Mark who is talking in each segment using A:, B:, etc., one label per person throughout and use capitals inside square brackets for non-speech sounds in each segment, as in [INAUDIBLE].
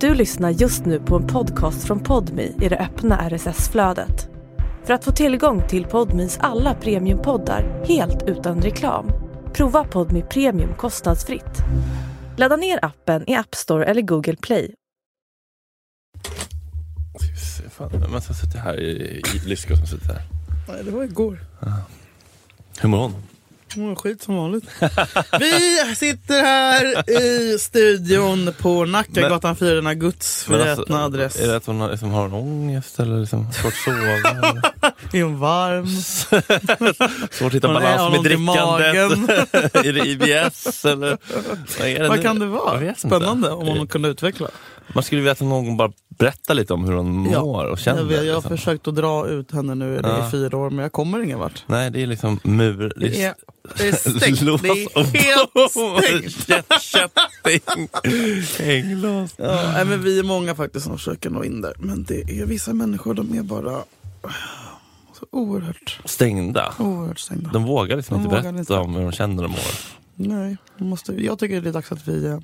A: Du lyssnar just nu på en podcast från Podmi i det öppna RSS-flödet. För att få tillgång till Podmis alla premiumpoddar helt utan reklam, prova Podmi Premium kostnadsfritt. Ladda ner appen i App Store eller Google Play.
B: Ska vi se, fan, men så sitter jag här i, i Lyska som sitter här.
C: Nej, det var igår.
B: Hur mår hon?
C: Hon var skit som vanligt. [LAUGHS] Vi sitter här i studion på Nackagatan 4, denna Guds
B: Men
C: förgätna
B: alltså,
C: adress.
B: Är det att hon har, liksom, har en ångest eller liksom, svårt att
C: [LAUGHS]
B: sova? eller?
C: I en varm...
B: svårt att hitta
C: Hon är- har
B: balans med
C: ont i magen.
B: drickandet? [LAUGHS] är det IBS eller? Vad, är
C: Vad
B: nu?
C: kan det
B: Jag
C: vara?
B: vet inte.
C: Spännande om hon kunde utveckla.
B: Man skulle vilja att någon bara berättar lite om hur hon
C: Ja,
B: mår och känner.
C: jag, vet, jag har
B: liksom.
C: försökt att dra ut henne nu det
B: Ja.
C: i fyra år, men jag kommer ingen vart.
B: Nej, det är liksom mur. Det är [LAUGHS]
C: Det är, det är stängt. Det
B: och
C: är helt stängt.
B: Köttkötting.
C: [LAUGHS]
B: Ängglås.
C: Ja, nej, men vi är många faktiskt som försöker nå in där, men det är vissa människor, de är bara så oerhört,
B: Stängda.
C: oerhört stängda.
B: De vågar liksom
C: De
B: inte
C: vågar
B: berätta
C: inte.
B: om hur de känner och mår.
C: Nej, vi måste, jag tycker det är dags att vi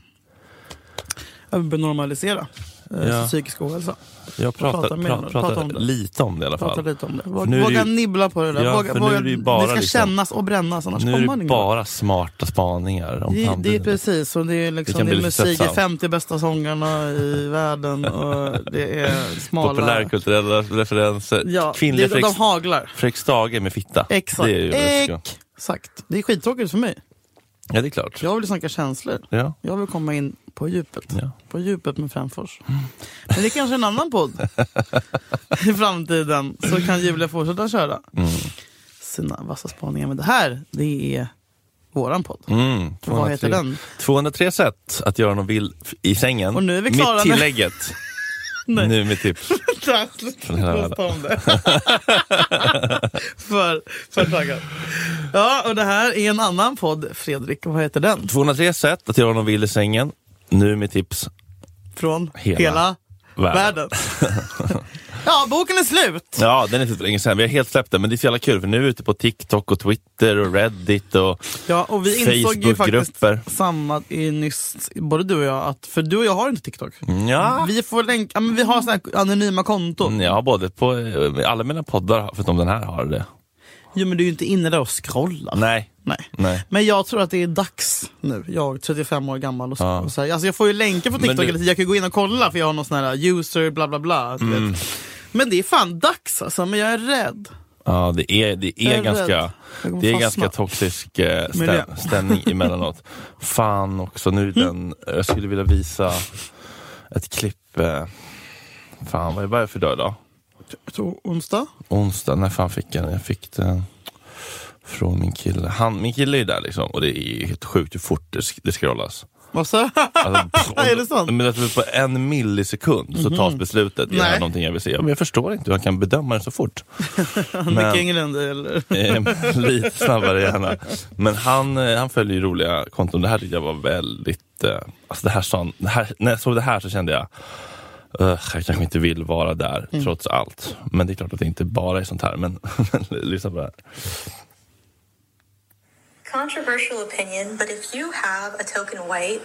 C: eh, bör normalisera eh,
B: Ja.
C: psykisk ohälsa.
B: Jag pratar,
C: Prata
B: pratar,
C: mer om det.
B: pratar
C: Prata om det.
B: lite om det i alla
C: Prata
B: fall.
C: lite om det.
B: För nu är
C: Våga,
B: det
C: våga
B: ju-
C: nibbla på det där.
B: Ja,
C: våga,
B: för nu
C: våga,
B: är det ju bara
C: ska
B: liksom-
C: kännas och brännas annars
B: Nu
C: kommer
B: är
C: man
B: det
C: ingen
B: bara smarta spaningar om
C: Det,
B: framtiden.
C: det är precis, och det är, liksom,
B: kan
C: det
B: bli
C: är
B: lite
C: musik, det är
B: tröttsamt.
C: 50 bästa sångarna i [LAUGHS] världen och det är smala...
B: Populärkulturella referenser.
C: ja,
B: Kvinnliga
C: det, de
B: Fredrik-
C: haglar.
B: Fredrik Stage med fitta.
C: Exakt.
B: Det är ju det jag tycker.
C: Exakt. Det är skittråkigt för mig.
B: Ja, det är klart.
C: Jag vill snacka känslor.
B: Ja.
C: Jag vill komma in på djupet.
B: Ja.
C: På djupet med Frändfors. Men det är kanske är en annan podd i framtiden. Så kan Julia fortsätta köra
B: Mm,
C: sina vassa spaningar. Men det här, det är våran podd.
B: Mm,
C: Vad
B: 203.
C: heter den?
B: 203 sätt att göra något vill f- i sängen.
C: Och nu är vi klara
B: Med
C: med-
B: tillägget.
C: [LAUGHS] Nej.
B: Nu med tips.
C: Trassligt.
B: den här
C: Låt om det. [LAUGHS] för för taggad. Ja, och det här är en annan podd. Fredrik, vad heter den?
B: 203 sätt att göra något vill i sängen. Nu med tips.
C: Från
B: Hela
C: hela,
B: världen.
C: världen. ja, boken är slut.
B: Ja, den är inte för länge sedan. Vi har helt släppt den, men det är så jävla kul för nu är vi ute på TikTok och Twitter och Reddit och
C: Ja, och vi insåg ju faktiskt
B: Facebookgrupper.
C: samma i nyss, både du och jag, att, för du och jag har inte TikTok.
B: Ja.
C: Vi får länka, ja, men vi har såna här anonyma konton.
B: Ja, både på eh, alla mina poddar, förutom den här, har det.
C: Jo men du är ju inte inne där och scrollar.
B: Nej.
C: Nej.
B: Nej.
C: Men jag tror att det är dags nu, jag 35 år gammal och så.
B: Ja.
C: Och så här, alltså jag får ju länkar på TikTok
B: du-
C: hela tiden, jag kan ju gå in och kolla för jag har någon sån här user bla bla bla. du
B: Mm.
C: Vet. Men det är fan dags alltså, men jag är rädd.
B: Ja, det är, det är
C: Jag är
B: ganska,
C: rädd. Jag kommer
B: det är
C: fastna.
B: ganska toxisk eh,
C: Miljö.
B: stä, stämning emellanåt. Fan också, nu är
C: Mm.
B: den, jag skulle vilja visa ett klipp. Eh, fan, vad är vad är det för dag idag?
C: Jag tror onsdag.
B: Onsdag, när fan fick jag den? Jag fick den från min kille. Han, min kille är ju där liksom och det är helt sjukt hur fort det, sk- det
C: [LAUGHS]
B: scrollas.
C: Vad sa jag?
B: Alltså,
C: Är det sant? Mhm.
B: Men att det på en millisekund så tas beslutet. Är det här
C: Nej.
B: någonting jag vill se? Ja, men jag förstår inte hur han kan bedöma det så
C: [LAUGHS]
B: fort.
C: Micke
B: men,
C: Englund eller?
B: eh, [LAUGHS] lite snabbare gärna. Men han, eh, han följer ju roliga konton. Det här tyckte jag var väldigt... Eh, alltså det här sa han, det här, när jag såg det här så kände jag "Ugh, jag kanske inte vill vara där
C: Mm.
B: trots allt. Men det är klart att det inte bara är sånt här. Men, [LAUGHS] men lyssna på det här.
D: Controversial opinion, but if you have a token white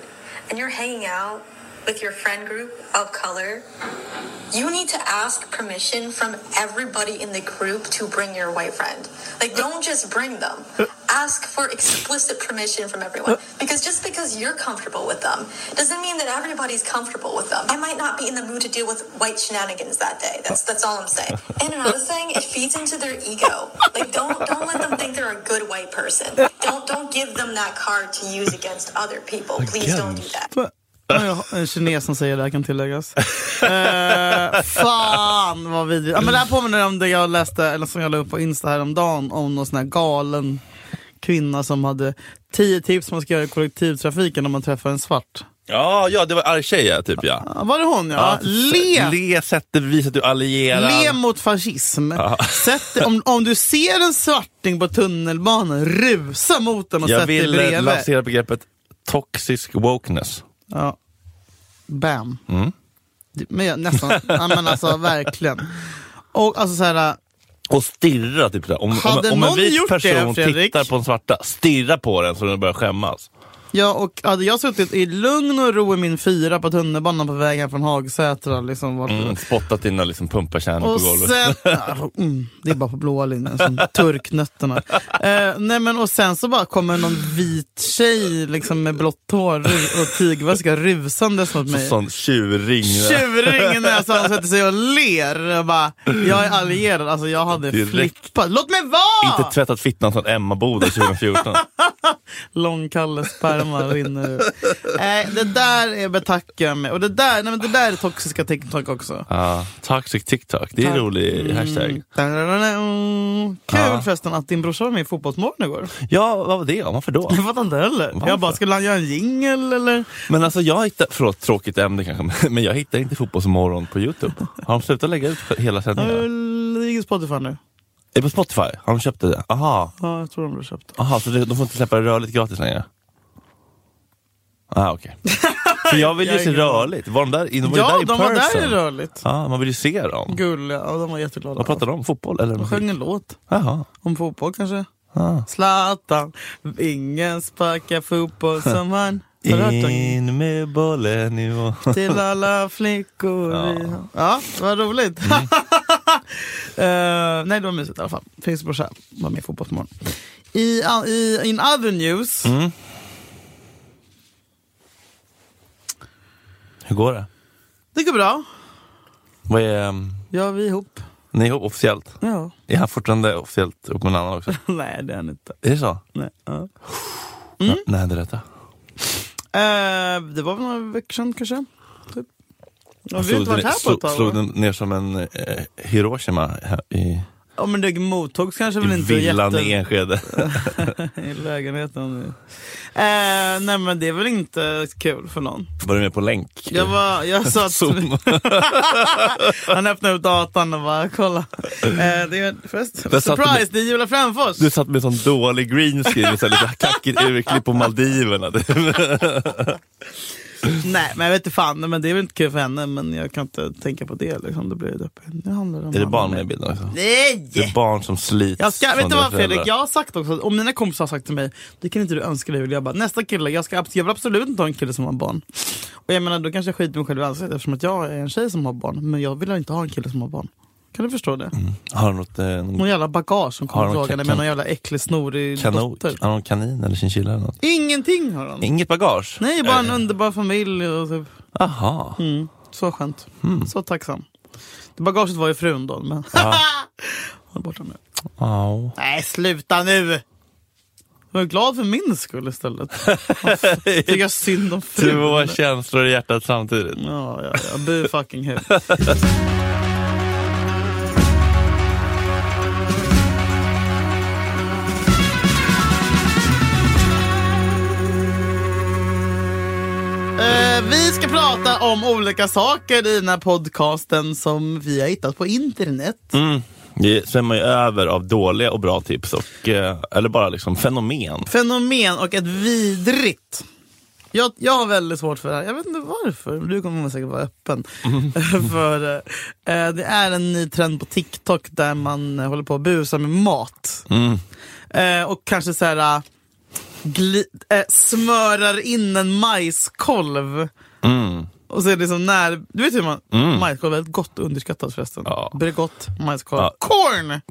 D: and you're hanging out with your friend group of color, you need to ask permission from everybody in the group to bring your white friend. Like, don't just bring them. Ask for explicit permission from everyone. Because just because you're comfortable with them doesn't mean that everybody's comfortable with them. I might not be in the mood to deal with white shenanigans that day. That's that's all I'm saying. And another thing, it feeds into their ego. Like, don't don't let them think they're a good white person. Don't don't give them that card to use against other people. Please don't do that.
C: Ja, jag har En kines som säger det här kan tilläggas. Eh, fan vad vidrigt. Ja, men det här påminner om det jag läste, eller som jag la upp på Insta häromdagen, om någon sån här galen kvinna som hade 10 tips man ska göra i kollektivtrafiken om man träffar en svart.
B: Ja, ja, det var arg tjej ja, typ ja.
C: Ja, var det hon ja? le! le.
B: Le sättet, visa att du allierar.
C: mot fascism. Sätt, om, om du ser en svarting på tunnelbanan, rusa mot den och
B: Jag
C: sätt dig
B: vill eh,
C: bredvid.
B: lansera begreppet toxisk wokeness.
C: Ja. Bam.
B: Mm.
C: Det- Men jag, nästan, ja,
B: [LAUGHS]
C: men alltså verkligen. Och alltså så här,
B: Och stirra typ där. Om, om,
C: Hade
B: om en
C: någon
B: vit
C: gjort det,
B: person
C: Fredrik?
B: tittar på en svarta, stirra på den så den börjar skämmas.
C: Ja, och hade jag suttit i lugn och ro i min fyra på tunnelbanan på vägen från Hagsätra liksom, vart
B: Mm, spottat dina liksom, pumpakärnor
C: Och
B: på golvet. [LAUGHS]
C: sen, Ja, mm, det är bara på blåa linjen, som turknötterna. Eh, nej men, och sen så bara kommer någon vit tjej liksom, med blått hår ru- och tygväska rusandes mot
B: Så,
C: mig.
B: sån tjurring.
C: Tjuring i näsan och sätter sig och ler. Jag, bara, jag är allierad, alltså jag hade
B: Direkt.
C: flippat. Låt mig vara!
B: Inte tvättat fittan från Emmaboda
C: [LAUGHS]
B: 2014.
C: Långkalles sperma rinner ut. Nej, det där är betackar jag mig. Och det där, nej, men det där är toxiska TikTok också.
B: ja, toxic TikTok, det är en
C: Tack. Mm.
B: rolig hashtag.
C: Kul
B: Ja.
C: förresten att din brorsa var med i Fotbollsmorgon igår.
B: Ja, vad var det om? Varför
C: [LAUGHS]
B: då?
C: Jag fattar inte heller.
B: Varför?
C: Jag bara, skulle han göra en jingel eller?
B: Men alltså jag hittar, förlåt tråkigt ämne kanske, men jag hittar inte Fotbollsmorgon på Youtube. Har de slutat lägga ut hela
C: Ja.
B: sändningarna?
C: Det ligger på Spotify nu.
B: Är det på Spotify? Har de köpt det? Aha,
C: Ja, jag tror de blev köpta.
B: Aha, så det- de får inte släppa det rörligt gratis längre? Ah,
C: [LAUGHS]
B: okej. För jag vill ju
C: Jag har
B: se
C: ingen aning.
B: rörligt. Var de där, de var ju
C: Ja,
B: där i
C: de var där i
B: person.
C: rörligt.
B: Ja, man vill ju se dem.
C: Gulliga, ja, de var jätteglada.
B: Vad pratar de om? Fotboll eller?
C: De sjöng en låt
B: Jaha.
C: om fotboll kanske.
B: Ah.
C: Zlatan, ingen sparkar
B: [LAUGHS]
C: fotboll som han. Har du hört den?
B: In med bollen i
C: [LAUGHS]
B: mål.
C: Till alla flickor
B: Ja. Mm.
C: i- Ja, vad roligt. [LAUGHS] Eh, nej, det var mysigt i alla fall. Felix brorsa var med i Fotbollsmorgon. I, i, in other news,
B: Mm. Hur går det?
C: det går bra.
B: Vad är, um,
C: Ja, vi är ihop.
B: ni är ihop officiellt?
C: Ja.
B: Är han fortfarande officiellt ihop med en annan också?
C: [LAUGHS] nej, det är han inte.
B: Är det så?
C: Nej. ja. Mm.
B: N- När hände detta?
C: Eh, det var väl några veckor sedan kanske. Typ. Ja, vi har
B: Slog
C: inte varit
B: den-
C: här på ett
B: slog- Slog
C: tag. va?
B: den ner som en eh, Hiroshima här i,
C: Ja, men det mottogs kanske väl
B: i
C: inte
B: villan
C: jätte...
B: i Enskede?
C: [LAUGHS] I lägenheten. Eh, nej, men det är väl inte kul för någon.
B: Var du med på länk?
C: Jag, var, jag
B: [LAUGHS]
C: sa att
B: Zoom.
C: Han öppnade upp datan och bara kolla. Eh, det är först.
B: du
C: Surprise, det är Julia Fränfors!
B: Du satt med sån dålig green screen, med så här lite kackigt urklipp på Maldiverna. [LAUGHS]
C: Nej men jag vet inte fan, men det är väl inte kul för henne men jag kan inte tänka på det liksom. Det blir det uppe. Nu handlar det om
B: Är det
C: han
B: barn
C: och
B: med i
C: mig.
B: bilden också? Det är
C: Nej!
B: barn som slits
C: Jag ska, vet
B: från
C: du
B: deras
C: vad Fredrik,
B: föräldrar.
C: jag har sagt också, och mina kompisar har sagt till mig, det kan inte du önska dig Julia. Jag bara, nästa kille, jag, ska, abs- jag vill absolut inte ha en kille som har barn. Och jag menar då kanske jag skiter mig själv i ansiktet eftersom att jag är en tjej som har barn, men jag vill inte ha en kille som har barn. Kan du förstå det?
B: Har de något, eh, någon
C: Någon jävla bagage som
B: Har
C: kommer
B: de
C: dragande
B: kan-
C: med någon jävla äcklig snorig
B: kanon,
C: dotter.
B: har de kanin eller chinchilla eller något?
C: Ingenting har de.
B: Inget bagage?
C: Nej, bara en
B: Eh,
C: underbar familj. Och typ.
B: Aha.
C: mm, så skönt.
B: Hmm.
C: Så tacksam. Det bagaget var ju frun då, men [LAUGHS] håll bort den nu.
B: Au.
C: Nej, sluta nu! Jag var glad för min skull istället. Tycker jag synd om
B: Två
C: frun.
B: känslor i hjärtat samtidigt.
C: Ja, ja, ja. Bu fucking hell. Eh, Vi ska prata om olika saker i den här podcasten som vi har hittat på internet.
B: Mm. Det svämmar ju över av dåliga och bra tips, och, eh, eller bara liksom fenomen.
C: Fenomen och ett vidrigt. Jag, jag har väldigt svårt för det här. Jag vet inte varför. Du kommer säkert
B: [LAUGHS]
C: vara öppen för det. Eh, Det är en ny trend på TikTok där man eh, håller på att busa med mat.
B: Mm.
C: Eh, Och kanske så här eh, gli, eh, smörar in en majskolv.
B: Mm.
C: Och så är det som när, du vet hur man,
B: Mm.
C: majskolv är väldigt gott underskattat förresten.
B: Ja.
C: Bregott, majskolv,
B: Ja.
C: corn!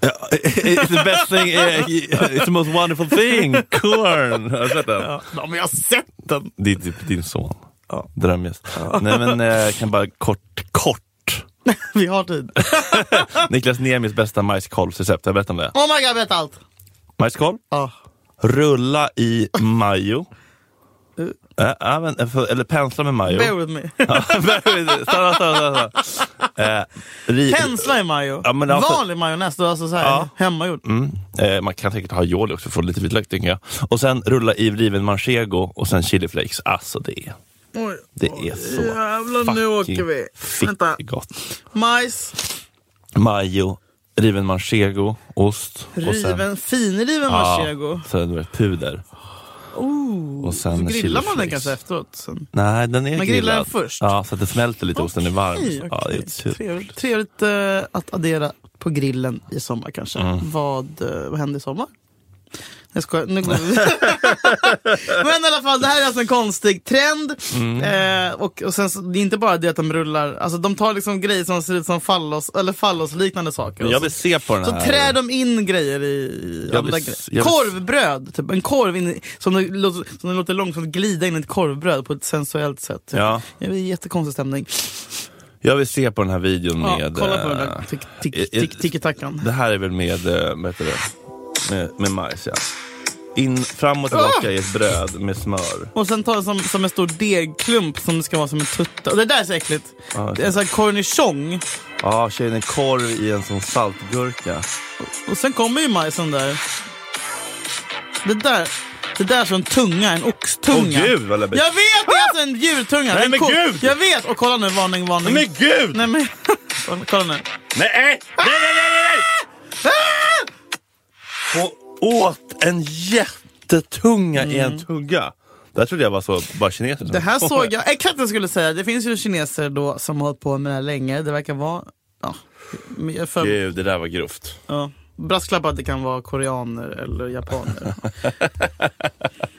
B: Ja, eh, It's the best thing, eh, it's the most wonderful thing, corn! Har du sett den?
C: Ja, men jag har sett [LAUGHS] den!
B: Det är typ din son.
C: Ja.
B: Drömgäst. Nej men eh, jag kan bara kort,
C: [LAUGHS]
B: kort.
C: Vi har tid.
B: Niklas Nemis bästa majskolvsrecept, har jag berättat om det?
C: Oh my god, jag vet allt!
B: Majskolv,
C: Ja.
B: rulla i majo.
C: Uh.
B: Eh, ja, men, eh, för- eller pensla med majo.
C: Bear with [LAUGHS] me.
B: [LAUGHS] Ja, bear with it. stanna, stanna, stanna. stanna. Eh, ri-
C: Pensla i majo.
B: Ja, men alltså-
C: Vanlig majonnäs, då, alltså så här,
B: Ja.
C: hemmagjord.
B: Mm. Eh, man kan säkert ha aioli också för att få lite vitlök tänker jag. Och sen rulla i riven manchego och sen chiliflakes. Alltså det är,
C: Oj,
B: det är så
C: Jävlar, nu åker vi.
B: fitt
C: Vänta.
B: gott.
C: Majs,
B: Majo, riven manchego, ost. och sen-
C: riven, finriven manchego.
B: Ja, sen var det puder.
C: Oh.
B: Och sen
C: Så grillar man den
B: chiliflakes.
C: kanske efteråt? Sen.
B: Nej, den är
C: Man grillar
B: grillad.
C: den först?
B: Ja, så att det smälter lite, osten är varm.
C: Okej, okej.
B: Ja, det är typ-
C: Trevligt, trevligt eh,
B: Mm.
C: att addera på grillen i sommar kanske. Vad, eh, vad händer i sommar? Jag skojar, nu går vi [LAUGHS] Men i alla fall, det här är alltså en konstig trend.
B: Mm.
C: Eh, och, och sen så, det är inte bara det att de rullar, alltså de tar liksom grejer som ser ut som fallos, eller fallosliknande saker. Och
B: Jag vill se på den
C: så
B: här.
C: trär de in grejer i
B: Jag
C: andra
B: vill-
C: grejer.
B: jag vill-
C: Korvbröd, typ. En korv in, i- som, det låter, som det låter långsamt glida in i ett korvbröd på ett sensuellt sätt. Typ.
B: Ja.
C: Det är en jättekonstig stämning.
B: Jag vill se på den här videon
C: Ja,
B: med...
C: kolla på den
B: eh,
C: där tick, tick,
B: eh,
C: tick, tick, tackan
B: Det här är väl med, eh, vad heter det? Med, med majs, ja. In, fram
C: Ah!
B: och tillbaka i ett bröd med smör.
C: Och sen tar det som, som en stor degklump som ska vara som en tutta. Och det där är så äckligt.
B: Ja,
C: Det är en sån här cornichon.
B: Ja, ah, tjejen en korv i en sån saltgurka.
C: Och sen kommer ju majsen där. Det där, det där är som en tunga, en oxtunga.
B: Åh, gud, vad läbbigt. Ah!
C: Jag vet, det är alltså en djurtunga.
B: Nej,
C: En
B: men
C: ko-
B: gud!
C: Jag vet! Och kolla nu, varning, varning.
B: gud!
C: Nej men, [LAUGHS] kolla nu.
B: Nej, nej, nej, nej, nej!
C: Ah!
B: Hon åt en jättetunga i en tugga. Det här trodde jag var så, bara kineser.
C: Mm. Det här såg
B: [LAUGHS]
C: jag, exakt det jag skulle säga. Det finns ju kineser då som har hållit på med det här länge. Det verkar vara, ja. men jag För,
B: Gud, det där var grovt.
C: Ja. Brasklapp att det kan vara koreaner eller japaner.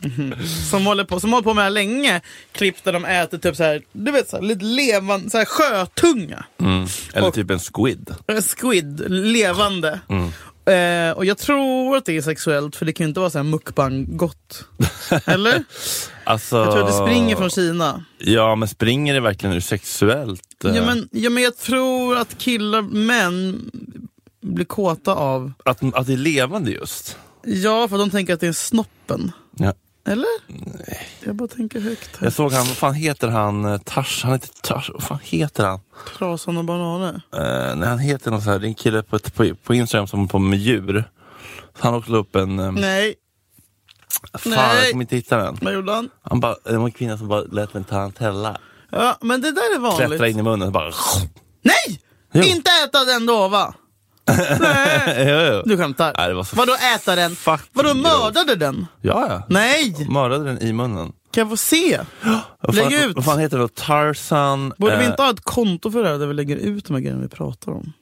C: Mhm. som, håller på, som håller på med det här länge. Klipp där de äter typ så här, du vet, så här, lite levande, så här, sjötunga.
B: Eller
C: Och-
B: typ en squid.
C: Eh, Squid, levande. Eh, och jag tror att det är sexuellt för det kan ju inte vara så här mukbang-gott. Eller?
B: Alltså,
C: Jag tror att det springer från Kina.
B: Ja, men springer det verkligen ur sexuellt?
C: Ja
B: eh,
C: men, ja men jag tror att killar, män blir kåta av,
B: Att, att det är levande just?
C: ja för de tänker att det är snoppen.
B: Ja.
C: Eller? Nej. Jag bara tänker högt här.
B: Jag såg han, vad fan heter han? eh, Tars, han heter Tars, vad fan heter han?
C: Trasan och bananer.
B: Eh, nej, han heter något så här, det är en kille på, ett- på, på Instagram som håller på med djur. Han åkte upp en, eh,
C: Nej,
B: fan
C: nej.
B: jag kommer inte hitta den.
C: vad gjorde han?
B: Han bara, det var en kvinna som bara lät en tarantella
C: Ja, men det där är
B: klättra
C: vanligt.
B: in i munnen och bara...
C: Nej!
B: Jo.
C: Inte äta den då va?
B: Jo, jo.
C: Du skämtar.
B: Nej, det var så
C: Vadå äta den?
B: fucking
C: Vadå
B: grovt.
C: mördade den?
B: Ja, ja.
C: Nej!
B: Mördade den i munnen.
C: Kan jag få se?
B: Vad
C: Lägg
B: fan,
C: ut.
B: Vad fan heter det då? Tarzan...
C: Borde vi
B: eh,
C: inte ha ett konto för det här där vi lägger ut de här grejerna vi pratar om?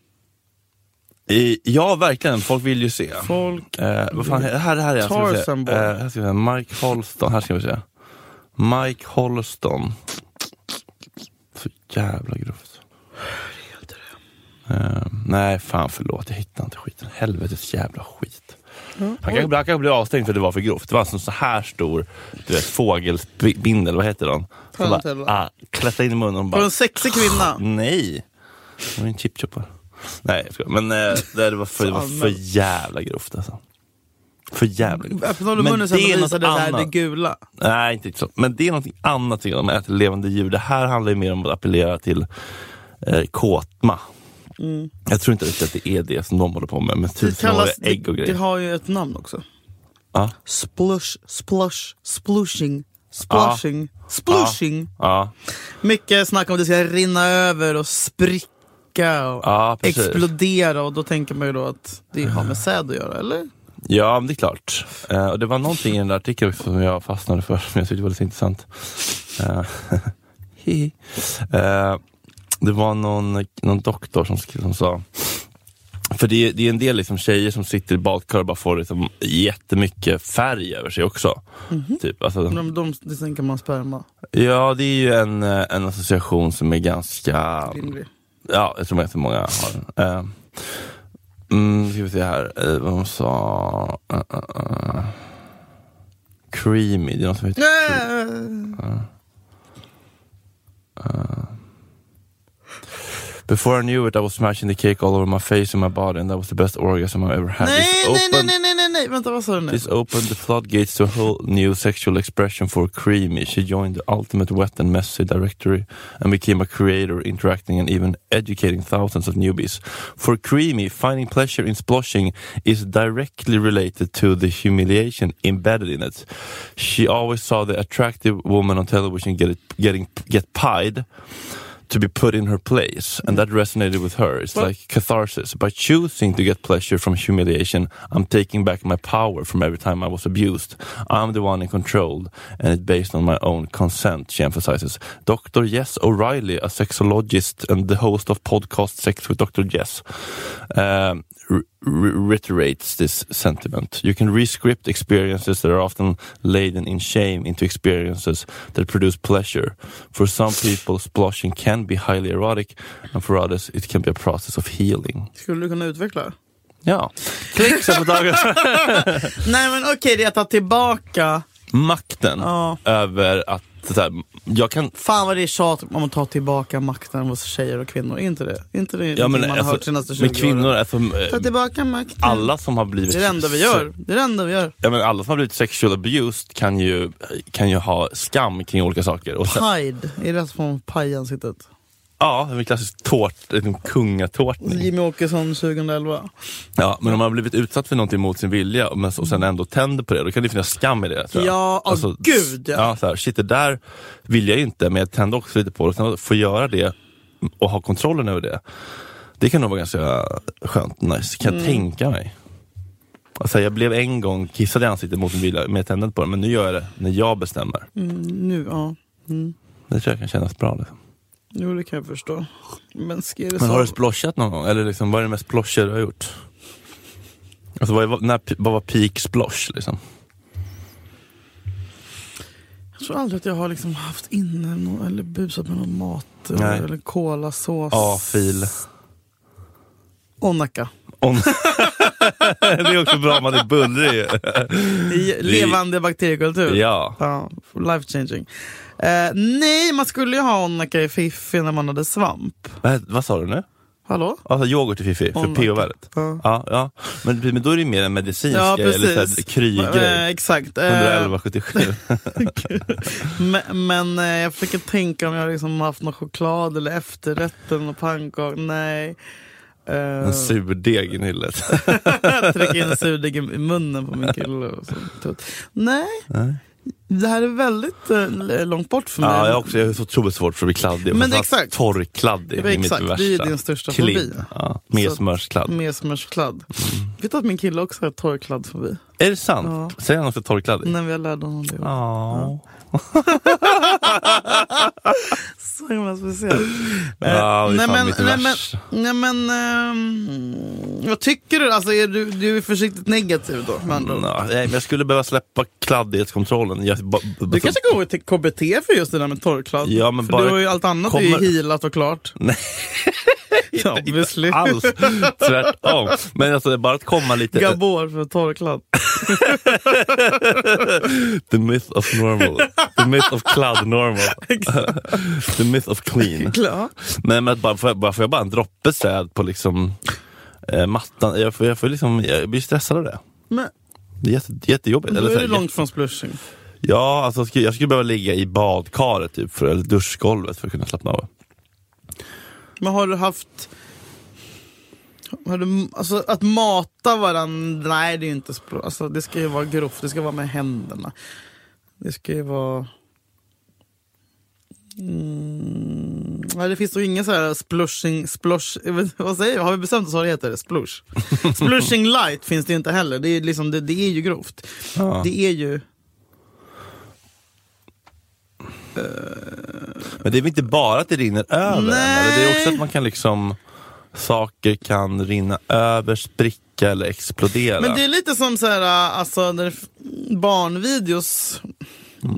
B: i, ja, verkligen. Folk vill ju se.
C: Folk...
B: Eh, vad fan, he- här, här är jag ska vi se.
C: Tarzan Boy.
B: Eh, här ska vi se. Mike Holston, här ska vi se. Mike Holston. Så jävla grovt. Eh, nej, fan förlåt. Jag hittar inte skiten. Helvetes jävla skit. Han kanske, han kanske blev avstängd för att det var för grovt. Det var alltså en så här stor du vet, fågelbindel, vad heter den? Som
C: Tarantella.
B: bara, ah, klättrade in i munnen och
C: Var det
B: bara...
C: en sexig kvinna?
B: Nej! Det var en chipchoppa. Nej, jag skojar. Men eh, det, det, var för, det var för jävla grovt alltså. För jävla grovt.
C: Öppnar du munnen sen och visar det här, det gula?
B: Nej, inte riktigt så. Men det är något annat tycker jag, om att äta levande djur. Det här handlar ju mer om att appellera till eh, kåtma. Jag tror inte riktigt att det är det som de håller på med, med
C: Mm. Det,
B: tusenåriga
C: kallas,
B: Typ ägg och
C: det, det
B: grejer.
C: har ju ett namn också.
B: Ja.
C: Splush, splush, splushing, splushing, splushing.
B: Ja,
C: Mycket snack om att det ska rinna över och spricka och
B: Ja, precis.
C: explodera och då tänker man ju då att det har med säd att göra, eller?
B: ja men det är klart. Eh, och det var någonting i den där artikeln också som jag fastnade för, som jag tyckte var lite intressant. Eh, [LAUGHS] hihi. eh, det var någon, någon doktor som, sk- som sa För det, är- det är en del liksom tjejer som sitter i badkar och bara får liksom jättemycket färg över sig också. Typ, alltså,
C: De, de, det tänker man sperma.
B: ja, det är ju en, eh, en association som är ganska...
C: Lindrig.
B: Ja, jag tror ganska många har den. Eh, mm, ska vi se här, eh, vad hon sa... Eh, eh, eh. Creamy, det är något som heter...
C: Äh,
B: Before I knew it I was smashing the cake all over my face and my body and that was the best orgasm I've ever had. This
C: Nej, nej, nej,
B: opened-
C: nej, nej, nej, nej, vänta vad sa du nu?
B: This opened the floodgates to a whole new sexual expression for Creamy. She joined the ultimate wet and messy directory and became a creator, interacting and even educating thousands of newbies. For Creamy, finding pleasure in splashing is directly related to the humiliation embedded in it. She always saw the attractive woman on television get it, getting get pied. To be put in her place, and that resonated with her. It's
C: Well-
B: like catharsis. By choosing to get pleasure from humiliation, I'm taking back my power from every time I was abused. I'm the one in control, and it's based on my own consent, she emphasizes. Dr. Jess O'Reilly, a sexologist and the host of podcast Sex with Dr. Jess, um, re- reiterates this sentiment. You can rescript experiences that are often laden in shame into experiences that produce pleasure. For some people, splashing can be highly erotic, and for others, it can be a process of healing.
C: Skulle du kunna utveckla?
B: Ja, klick så på
C: [LAUGHS]
B: dagens
C: Nej men okej, det är att ta tillbaka.
B: makten
C: Ja.
B: över att så här, jag kan
C: Fan vad det är tjat om att ta tillbaka makten hos tjejer och kvinnor. Är inte det? Är inte det
B: Ja,
C: någonting
B: men,
C: man har hört
B: alltså,
C: senaste 20
B: men
C: åren?
B: kvinnor, alltså,
C: Ta tillbaka makten.
B: alla som har blivit
C: Det är det enda vi gör. Det är det enda vi gör.
B: ja, men alla som har blivit sexual abused kan ju, kan ju ha skam kring olika saker. Och sen,
C: Pride, är det från pajansiktet?
B: ja, det är en klassisk tårt, en kungatårtning.
C: Jimmy Åkesson 2011.
B: Ja, men om man har blivit utsatt för någonting mot sin vilja men, och sen ändå tänder på det, då kan det finnas skam i det. Tror jag. Alltså,
C: Ja, åh, gud, ja.
B: ja. så här, shit, det där vill jag ju inte, men jag tänder också lite på det. Och Sen att få göra det och ha kontrollen över det, det kan nog vara ganska skönt, nice, kan
C: Mm.
B: jag tänka mig. Alltså, jag blev en gång kissad i ansiktet mot min vilja, men jag tände inte på det. Men nu gör jag det när jag bestämmer.
C: Mm, Nu, ja. Mm.
B: Det tror jag kan kännas bra. Liksom.
C: Jo, det kan jag förstå. Men ska är det
B: Men
C: så?
B: har du splashat någon gång? Eller liksom, vad är det mest splasher du har gjort? Alltså vad, är, när, vad var peak splosh liksom?
C: Jag tror aldrig att jag har liksom haft inne någon, eller busat med någon mat
B: Nej.
C: eller kolasås.
B: A-fil.
C: Och nacka.
B: Om... [LAUGHS] det är också bra om man är bullrig.
C: I levande bakteriekultur.
B: Mm. ja.
C: Ja, life changing. Eh, nej, man skulle ju ha onnacka i fiffi när man hade svamp.
B: Vad, vad sa du nu?
C: Härå?
B: Alltså yoghurt i fiffi, för
C: Onnacka.
B: pH-värdet?
C: Ja.
B: Ja, ja. Men, men då är det mer en medicinsk
C: Ja,
B: grej, eller så
C: precis.
B: här krygrej.
C: Eh, exakt. Eh,
B: 111,77.
C: Men, men eh, jag försöker tänka om jag har liksom haft någon choklad eller efterrätt eller någon pannkaka. Nej. Uh,
B: en surdeg i nyllet.
C: [LAUGHS] trycka in en surdeg i i munnen på min kille. Och sånt. tut. Nej. Det här är väldigt eh, långt bort för mig.
B: ja, jag, också, jag har så otroligt svårt för att bli kladdig.
C: Men
B: Framförallt
C: exakt.
B: Torrkladdig,
C: Ja,
B: det är mitt
C: exakt. Det
B: värsta.
C: är din största
B: Klim.
C: fobi.
B: Ja, mer
C: Så- Mm.
B: smörskladd.
C: Med smörskladd.
B: Mm.
C: Vet du att min kille också har torrkladd förbi?
B: Är det sant? Säger han också torrkladdig?
C: När vi lärde honom det.
B: Ja.
C: Så
B: [LAUGHS]
C: himla speciellt.
B: Ja, det är
C: nej,
B: fan
C: men,
B: mitt
C: nej, men,
B: värsta.
C: nej men, ehm, vad tycker du? Alltså, är du, du är försiktigt negativ då med andra ord.
B: Nå, Mm, nej, men jag skulle behöva släppa kladdighetskontrollen. Jag, ba, ba,
C: Du kanske går till KBT för just det där med torrkladd?
B: Ja, men
C: för
B: bara
C: du har ju allt annat är
B: kommer-
C: ju healat och klart.
B: Nej.
C: Ja, obviously.
B: alls. Tvärtom. Men alltså, det är bara att komma lite...
C: Gabor
B: [LAUGHS]
C: för torrkladd.
B: The myth of normal. The myth of kladd
C: [LAUGHS]
B: normal. The myth of clean.
C: Klar.
B: Nej, men att bara, får, jag, bara, får jag bara en droppe säd på liksom, eh, mattan? Jag, får, jag, får liksom, jag blir stressad av det.
C: Men
B: Det är jätte, jättejobbigt.
C: då
B: Eller så
C: är
B: här,
C: du långt från splashing.
B: Ja, alltså, jag skulle- jag skulle behöva ligga i badkaret typ, för, eller duschgolvet för att kunna slappna av.
C: Men har du haft... Har du, alltså, att mata varandra, nej det är ju inte språk. Alltså, det ska ju vara grovt, det ska vara med händerna. Det ska ju vara... Mm, nej, det finns nog ingen så här splushing, splush, jag vet- vad säger jag? Har vi bestämt oss vad det heter? Splush. Splushing light finns det ju inte heller, det är, ju liksom, det, det är ju grovt.
B: Ja.
C: Det är ju...
B: Men det är väl inte bara att det rinner över en, eller? Det är också
C: Nej.
B: att man kan liksom Saker kan rinna över, spricka eller explodera.
C: Men det är lite som så här, alltså, när det f- barnvideos,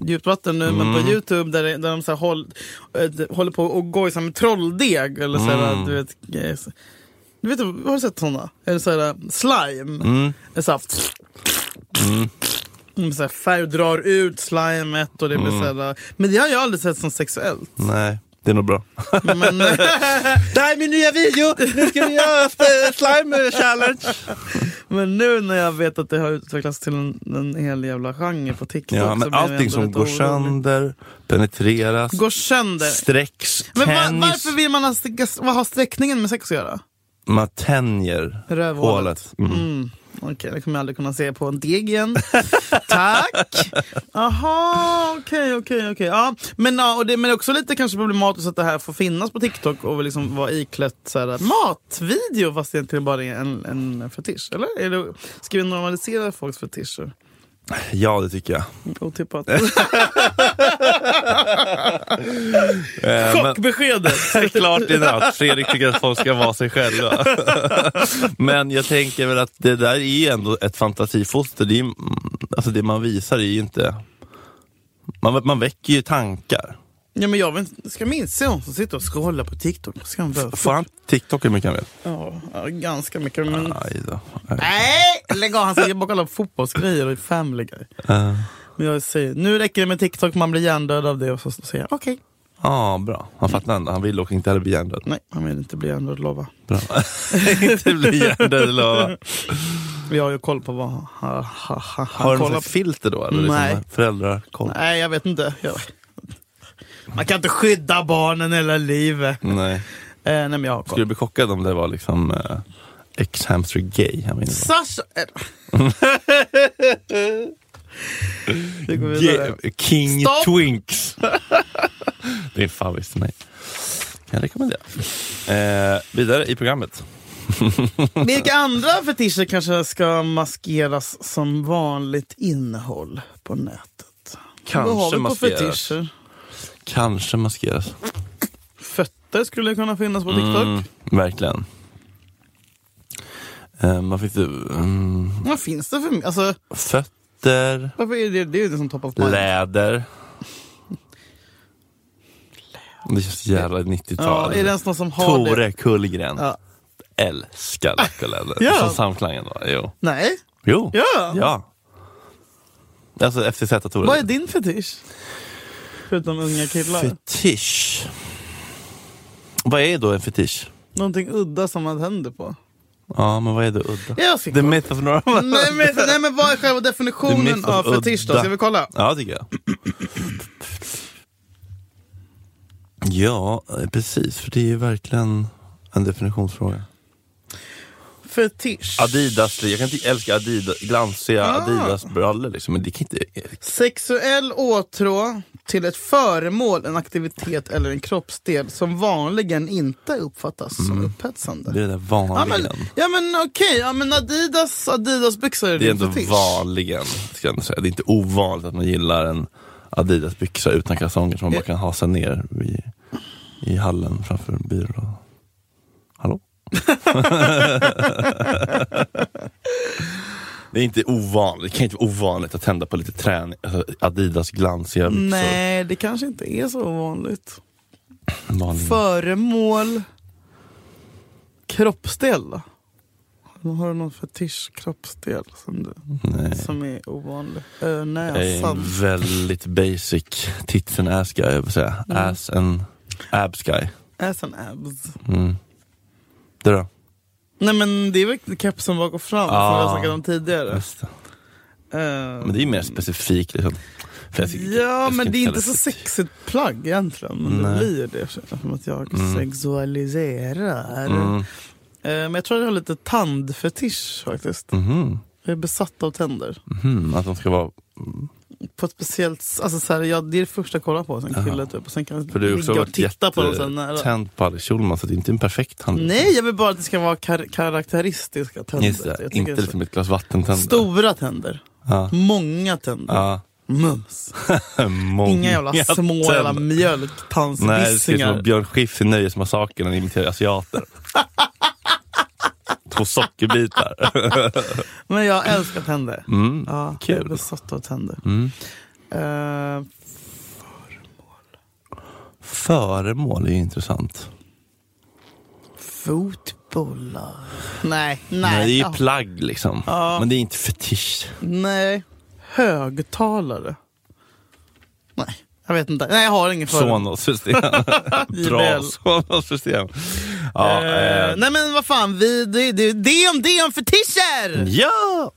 C: djupt vatten nu, men på Youtube där, det- där de så här håll, eh, de- håller på och gojsar med trolldeg. Eller så här, du vet, grejer så- du vet, har du sett sådana? Eller så här, äh, slime. Mm. Så här, Mm, Så här, färg drar ut slimet och det blir så här, äh, Men det har jag aldrig sett som sexuellt.
B: Nej, det är nog bra.
C: Men, [LAUGHS]
B: Det här är min nya video! Nu ska vi göra eh, slime challenge!
C: men nu när jag vet att det har utvecklats till en, en hel jävla genre på TikTok.
B: Ja,
C: så
B: men
C: blir jag
B: allting
C: ändå
B: som
C: lite
B: går
C: orolig.
B: sönder, penetreras,
C: Går sönder.
B: sträcks,
C: Men va,
B: tänjs.
C: varför vill man ha, st- vad har sträckningen med sex att göra?
B: Man tänjer
C: Rövhålet.
B: hålet. Mm.
C: Okej, det kommer jag aldrig kunna se på en
B: [LAUGHS]
C: deg igen. Tack! Aha, okej, okej, okej. Ja, men, ja, och det, men det är också lite kanske problematiskt att det här får finnas på TikTok och liksom vara iklätt så här, matvideo fast det egentligen bara är en, en fetisch. Eller? Är det, ska vi normalisera folks fetischer?
B: Ja, det [LAUGHS]
C: typ
B: tycker jag.
C: Otippat.
B: Eh, men- [LAUGHS]
C: beskedet.
B: Det är klart i natt. Fredrik tycker att folk ska vara sig själva. [LAUGHS] Men jag tänker väl att det där är ändå ett fantasifoster. Det, är, mm, alltså det man visar är ju inte... Man, man väcker ju tankar.
C: Ja, men jag vet, inte. ska min son som sitter och scrollar på TikTok, vad ska han behöva?
B: Får han TikTok hur mycket han vill?
C: Ja, ja, ganska mycket. Men...
B: Aj då. Aj.
C: Mm. Nej, lägg av. Han sitter bara och kollar på fotbollsgrejer och Family Guy.
B: Eh,
C: Men jag säger, nu räcker det med TikTok, man blir hjärndöd av det. Och så säger jag, okej.
B: Ja, bra. Han fattar ändå. Han vill och inte heller bli hjärndöd.
C: Nej, han vill inte bli hjärndöd, lova.
B: Bra. [LAUGHS] inte bli hjärndöd, lova.
C: Jag har ju koll på vad han, han, han, han
B: Har du
C: kollar
B: något
C: på.
B: filter då? Eller
C: Nej.
B: Liksom föräldrar koll?
C: Nej, jag vet inte. Jag... Man kan inte skydda barnen hela livet.
B: Nej.
C: Eh, nej, men jag har
B: Skulle du
C: koll.
B: bli chockad om det var liksom eh, ex-hamster gay? Han var inne på?
C: Sasha! eh. Vi går vidare.
B: Ge- King
C: Stopp!
B: Twinks. [LAUGHS] det är en favorit till mig. Kan jag rekommendera. Eh, vidare i programmet.
C: Vilka andra fetischer kanske ska maskeras som vanligt innehåll på nätet? Vad har vi
B: Kanske
C: på
B: maskeras.
C: fetischer?
B: Kanske maskeras.
C: Fötter skulle kunna finnas på TikTok.
B: Mm, verkligen. Eh, man fick ju, mm,
C: Vad finns det för... Alltså,
B: fötter,
C: varför är det, det är ju det som top of mind.
B: läder. Det känns så jävla 90-tal.
C: Ja, är det ens någon som har det?
B: Tore Kullgren.
C: Ja.
B: Älskar Lakolellen.
C: [LAUGHS] Ja.
B: Som samklang ändå. Jo.
C: Nej.
B: jo.
C: Ja.
B: Ja. Alltså FTZ Tore.
C: Vad är din fetisch? Förutom unga killar.
B: Fetisch. Vad är då en fetisch?
C: Någonting udda som man händer på.
B: Ja, men vad är det udda?
C: Jag ska
B: The myth of normal.
C: nej, men, nej men vad är själva
B: The
C: definitionen
B: myth of
C: av fetisch då?
B: udda.
C: Ska vi kolla?
B: Ja, tycker jag. Ja, eh, precis. För det är ju verkligen en definitionsfråga.
C: Fetisch.
B: Adidas, jag kan inte älska Adidas, glansiga
C: Ah.
B: Adidas-brallor liksom, men det kan inte...
C: Sexuell åtrå till ett föremål, en aktivitet eller en kroppsdel som vanligen inte uppfattas som upphetsande.
B: Mm. Det är det där
C: ja,
B: vanligen.
C: men, ja men okej, ja, men Adidas, Adidas byxor är
B: Det är
C: din
B: ändå
C: fetisch.
B: vanligen, ska jag ändå säga. Det är inte ovanligt att man gillar en Adidas-byxa utan kalsonger som man bara kan hasa ner i, i hallen framför en bil. Och... Hallå? [LAUGHS] det är inte ovanligt, det kan inte vara ovanligt att tända på lite träning, alltså Adidas glansiga byxor.
C: Nej, det kanske inte är så vanligt.
B: Vanligen.
C: Föremål, kroppsdel då? Har du någon fetisch kroppsdel som, du,
B: Nej.
C: som är ovanlig? Ö,
B: Jag är
C: näsan.
B: en väldigt basic tits and ass guy, jag vill säga.
C: Mm.
B: Ass and abs guy.
C: Näsan abs.
B: Mm. Du då?
C: Nej men det är väl kepsen bak och fram som
B: Ah.
C: jag snackade om tidigare.
B: Just det.
C: Eh,
B: Men det är ju mer specifikt. Liksom. För jag ska- jag
C: ja,
B: ska
C: men det är
B: kalla
C: inte så
B: fetisch.
C: sexigt plagg egentligen. Men det
B: Nej.
C: blir ju det eftersom att jag sexualiserar.
B: Mm.
C: Eh, men jag tror jag har lite tandfetisch faktiskt.
B: Mhm.
C: Jag är besatt av tänder.
B: Mhm. Att de ska vara...
C: På ett speciellt, alltså så här, jag, det är det första jag kollar på hos en kille typ. Och sen kan
B: För
C: jag
B: du har också
C: ligga och
B: varit
C: titta på dem sen nära.
B: jättetänd på Alice Schulman, så det är inte en perfekt hand.
C: Nej, jag vill bara att det ska vara kar- karaktäristiska tänder.
B: Just det.
C: Jag tycker
B: Inte
C: det är så-
B: liksom ett glas vattentänder.
C: Stora tänder.
B: Ja.
C: Många tänder.
B: Ja.
C: Mums.
B: Många
C: Inga jävla små jävla
B: tänder. Nej, det ser ut som
C: mjölktandsvissingar.
B: Björn Skifs i Nöjesmassakern när han imiterar
C: [LAUGHS]
B: asiater. Två sockerbitar.
C: Men jag älskar tänder.
B: Mm.
C: Ja, jag är
B: Kul.
C: besatt av tänder.
B: Mm.
C: Eh,
B: Föremål är ju intressant.
C: fotbollar. Nej, nej.
B: Nej, det är
C: ja.
B: ju plagg liksom. Men det är inte fetisch.
C: nej. Högtalare. Nej, jag vet inte. Nej, jag har ingen före.
B: Sonos-system. Bra
C: JBL.
B: Sonos-system. Ja,
C: Eh,
B: eh,
C: nej men vad fan, vi, det, det, det, om, det
B: Mm.
C: om fetischer!
B: ja!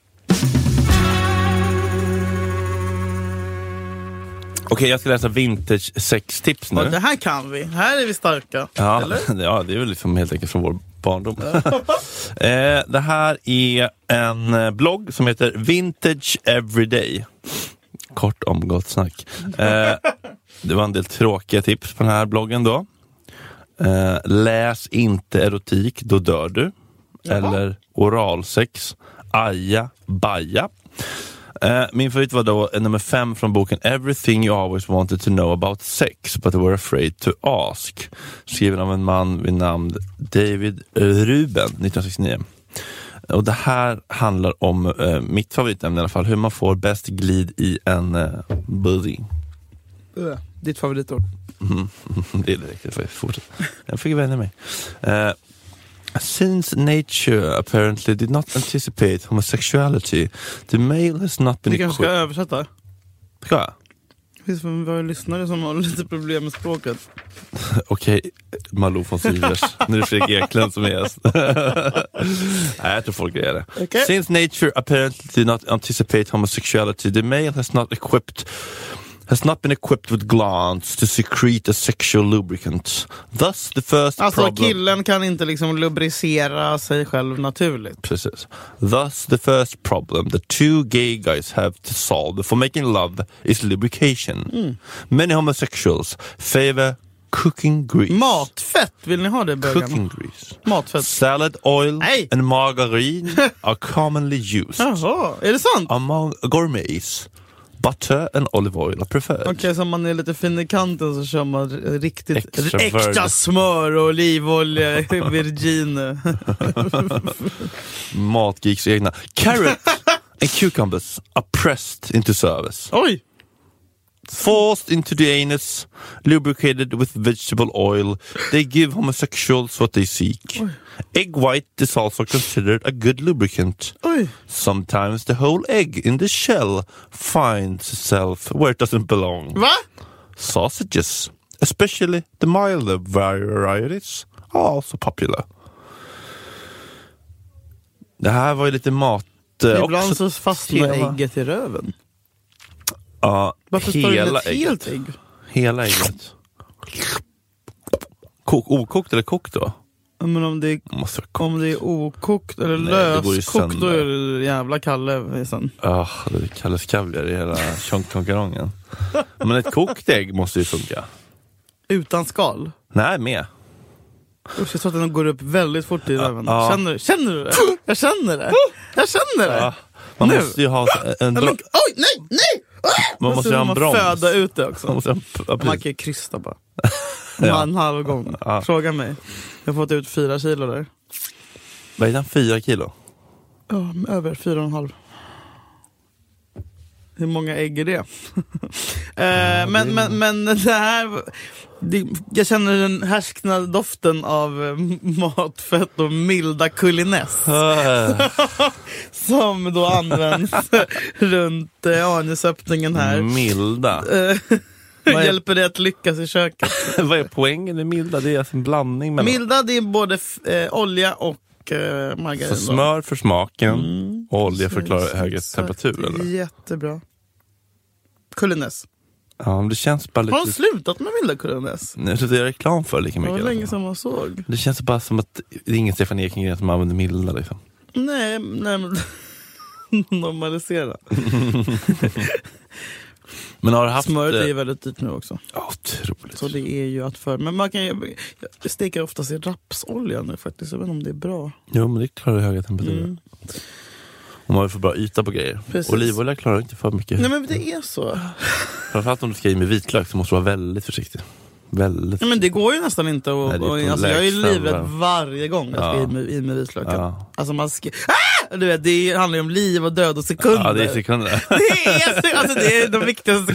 B: Okej, jag ska läsa vintage sextips
C: Ja,
B: nu.
C: det här kan vi. Här är vi starka.
B: Ja, [LAUGHS] ja, det är väl liksom helt enkelt från vår barndom. [LAUGHS] eh, det här är en eh, blogg som heter Vintage Everyday. Kort om gott snack. Eh, det var en del tråkiga tips på den här bloggen då. Eh, läs inte erotik, då dör du. Eller oralsex, aja, baja. Eh, min favorit var då eh, nummer fem från boken Everything you always wanted to know about sex but were afraid to ask. Skriven av en man vid namn David eh, Ruben 1969. Och det här handlar om eh, mitt favoritämne i alla fall, hur man får bäst glid i en eh, booty.
C: Ugh, Ditt favoritord.
B: Mm, [LAUGHS] det är riktigt faktiskt. Fortsätt. Jag fick vänja mig. Eh, since nature apparently did not anticipate homosexuality, the male has not been
C: Du kanske ska
B: equi-
C: översätta?
B: Ska jag?
C: Det finns våra lyssnare som har lite problem med språket.
B: Okej, Malou von Sivers. nu är det Fredrik Eklund som är gäst. [LAUGHS] Nej, jag tror folk är det.
C: Okej.
B: Since nature apparently did not anticipate homosexuality, the male has not equipped has not been equipped with glands to secrete a sexual lubricant. Thus the first
C: Alltså
B: problem...
C: killen kan inte liksom lubricera sig själv naturligt.
B: Precis. Thus the first problem the two gay guys have to solve before making love is lubrication.
C: Mm.
B: Many homosexuals favor cooking grease.
C: Matfett, vill ni ha det i bögarna?
B: Cooking grease.
C: Matfett.
B: Salad oil
C: Nej.
B: and margarine are commonly used
C: Jaha, är det sant?
B: among gourmets. Butter and olive oil are preferred.
C: Okej, så om man är lite fin i kanten så kör man r- riktigt
B: Extra
C: äkta
B: virgin.
C: smör och olivolja,
B: [LAUGHS]
C: virgin.
B: Matgeeks egna. Carrot and cucumbers are pressed into service.
C: Oj!
B: forced into the anus, lubricated with vegetable oil. They give homosexuals what they seek. Egg white is also considered a good lubricant.
C: Oj!
B: Sometimes the whole egg in the shell finds itself where it doesn't belong.
C: Va?
B: Sausages, especially the milder varieties, are also popular. Det här var ju lite mat... eh, också
C: Ibland så fastnar
B: tema.
C: ägget i röven.
B: Ja,
C: Varför står det in
B: hela
C: ett helt ägg?
B: Hela ägget. Kok, okokt eller kokt då?
C: Ja, Men om det är,
B: Måste vara kokt.
C: om det är okokt eller
B: Nej, det går ju
C: löskokt då
B: sönder.
C: är det jävla Kalle sen.
B: Ah, det kallas kaviar i hela tjongkonkarongen. Men ett kokt ägg måste ju funka.
C: Utan skal.
B: Nej, med.
C: Usch, jag tror att den går upp väldigt fort i röven.
B: ja.
C: Känner, du- känner du det? Jag känner det! Jag känner det!
B: Ja, Ah, man
C: Nu.
B: måste ju ha en,
C: Nej,
B: dro-
C: [LAUGHS] men, oj, nej, nej! Ah!
B: man
C: Och
B: måste
C: så
B: ju ha en
C: får man
B: broms.
C: föda ut det också.
B: Man måste ha en, ja,
C: Man
B: precis.
C: kan ju
B: [LAUGHS]
C: krysta bara. ja. En halv gång.
B: Ja.
C: Fråga mig. Jag har fått ut fyra kilo där.
B: Vad är den? Fyra kilo?
C: Ja, Ehm, över fyra och en halv. Hur många ägg är det? [LAUGHS] eh, men, men, men det här... Det, jag känner den härsknande doften av eh, matfett och milda kuliness
B: Ah,
C: som
B: [LAUGHS]
C: då används runt eh, anusöppningen här.
B: milda.
C: Eh,
B: är-
C: Hjälper det att lyckas i köket?
B: [LAUGHS] Vad är poängen med milda? Det är alltså en blandning mellan
C: Milda det är både f- eh, olja och eh,
B: så
C: margarin. då.
B: smör för smaken
C: Mm.
B: och olja för att klara
C: Exakt.
B: högre temperatur. Eller?
C: Jättebra. Kuliness.
B: Ja, men det känns bara
C: Har de
B: lite...
C: slutat med milda kuliness?
B: Nu slutar jag reklam för lika
C: Det var
B: Mm, mycket.
C: länge
B: alltså.
C: som man såg.
B: Det känns bara som att det är ingen Stefan Ekengren som använder milda liksom.
C: Nej, nej men... [LAUGHS] Normalisera.
B: Men har du haft...
C: Smöret är ju
B: eh,
C: väldigt dyrt nu också.
B: ja, otroligt.
C: Så det är ju att för... Men man kan ju... Jag steker oftast i rapsolja nu faktiskt. Jag vet inte om det är bra.
B: Jo men det klarar ju höga temperaturer.
C: Mm.
B: Om man får bra yta på grejer.
C: Precis.
B: Olivolja klarar inte för mycket.
C: Nej men det är så.
B: Framförallt om du ska i med vitlök så måste du vara väldigt försiktig. Väldigt
C: Nej, men det går ju nästan inte att...
B: Nej, det är
C: och-
B: på
C: alltså, jag är ju
B: lägsta
C: livrädd
B: varv.
C: varje gång jag ska
B: Ja.
C: i med, i med vitlöken.
B: Ja.
C: Alltså man ska... Ah! Du vet, det handlar ju om liv och död och sekunder.
B: Ja det är sekunder.
C: [LAUGHS] Det är, se- alltså, det är de viktigaste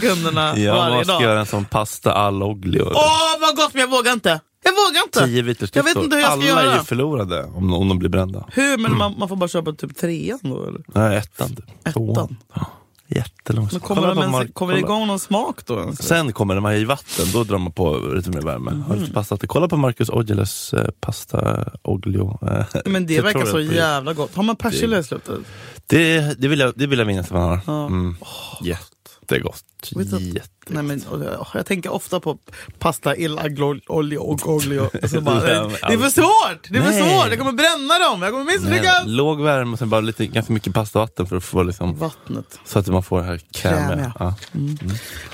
B: [LAUGHS]
C: sekunderna
B: Jag
C: varje
B: måste
C: dag.
B: göra en sån pasta all oglio.
C: Åh vad gott men jag vågar inte! Jag vågar
B: Tio
C: inte! Jag
B: vitlöksklyftor.
C: vet inte hur jag ska
B: Alla är
C: göra.
B: ju förlorade om, om de blir brända.
C: Hur? Men man, man får bara köpa typ trean då eller?
B: Nej, ettan typ.
C: Ettan?
B: Ja. Jättelångsamt.
C: Men kommer,
B: Kolla
C: de
B: på
C: ens,
B: Mark-
C: kommer det
B: kolla.
C: igång någon smak då ens?
B: Sen kommer de här i vatten, då drar man på lite mer värme. Har lite pasta till. Kolla på Marcus Aujalus eh, pasta oglio. Eh,
C: Men det
B: jag
C: verkar
B: tror
C: så
B: det.
C: jävla gott. Har man persilla i slutet?
B: Det, det, vill jag, det vill jag minnas att man har.
C: Ja.
B: Mm. Jättegott.
C: Vet du att-
B: Jätte...
C: Nej, men, åh, jag tänker ofta på pasta il aglio olio och oglio. Och så bara,
B: [LAUGHS] Nej, men
C: det är för
B: allt.
C: svårt! Det är för
B: Nej.
C: svårt! Jag kommer bränna dem! Jag kommer
B: Nej,
C: misslyckas!
B: Låg värme och sen bara lite, ganska mycket pasta och vatten för att få liksom,
C: Vattnet.
B: så att man får det här krämiga.
C: Krämiga.
B: Ja.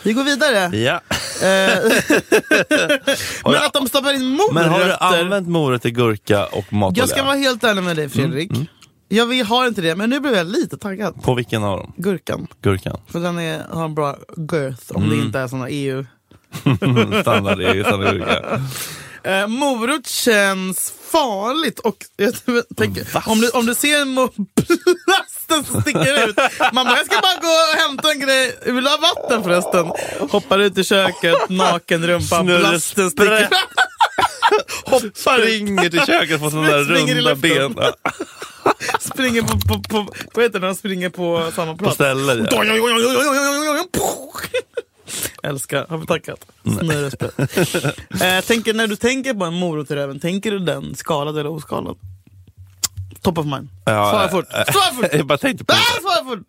C: Vi går vidare.
B: ja.
C: Eh,
B: Har
C: men
B: jag-
C: att de stoppar in
B: Men har du
C: morötter.
B: använt morötter, gurka och matolja? Mm,
C: Jag ska vara helt ärlig med dig Fredrik. Jag vill, har inte det, men nu blev jag lite taggad.
B: På vilken av dem?
C: Gurkan.
B: Gurkan? [LAUGHS]
C: För den är, har en bra girth om det inte är såna E EU.
B: Mm, Standard egen standard gurka.
C: Eh, morot känns farligt och jag tänker, om du, om du ser en mo- [LAUGHS] plasten som sticker ut. Man bara, jag ska bara gå och hämta en grej. Vill du ha vatten förresten? Hoppar ut i köket, naken rumpa,
B: Snurrar
C: plasten sticker ut. [LAUGHS] Hoppar in,
B: Springer till köket på sådana där
C: Springer i
B: runda
C: luften.
B: ben.
C: springer på, på, på, vad heter det när de springer på samma
B: På
C: plats?
B: ställen. Ja.
C: Oj, oj, oj, oj, oj, oj, oj, oj, oj. Älskar, har vi tackat? Snurrespel. eh, tänker, när du tänker på en morot i röven, tänker du den skalad eller oskalad? Top of mind.
B: Ja,
C: Svara
B: eh,
C: fort! Svara
B: [LAUGHS]
C: fort! [LAUGHS]
B: Jag bara tänkte på
C: Ah,
B: det.
C: Svara fort!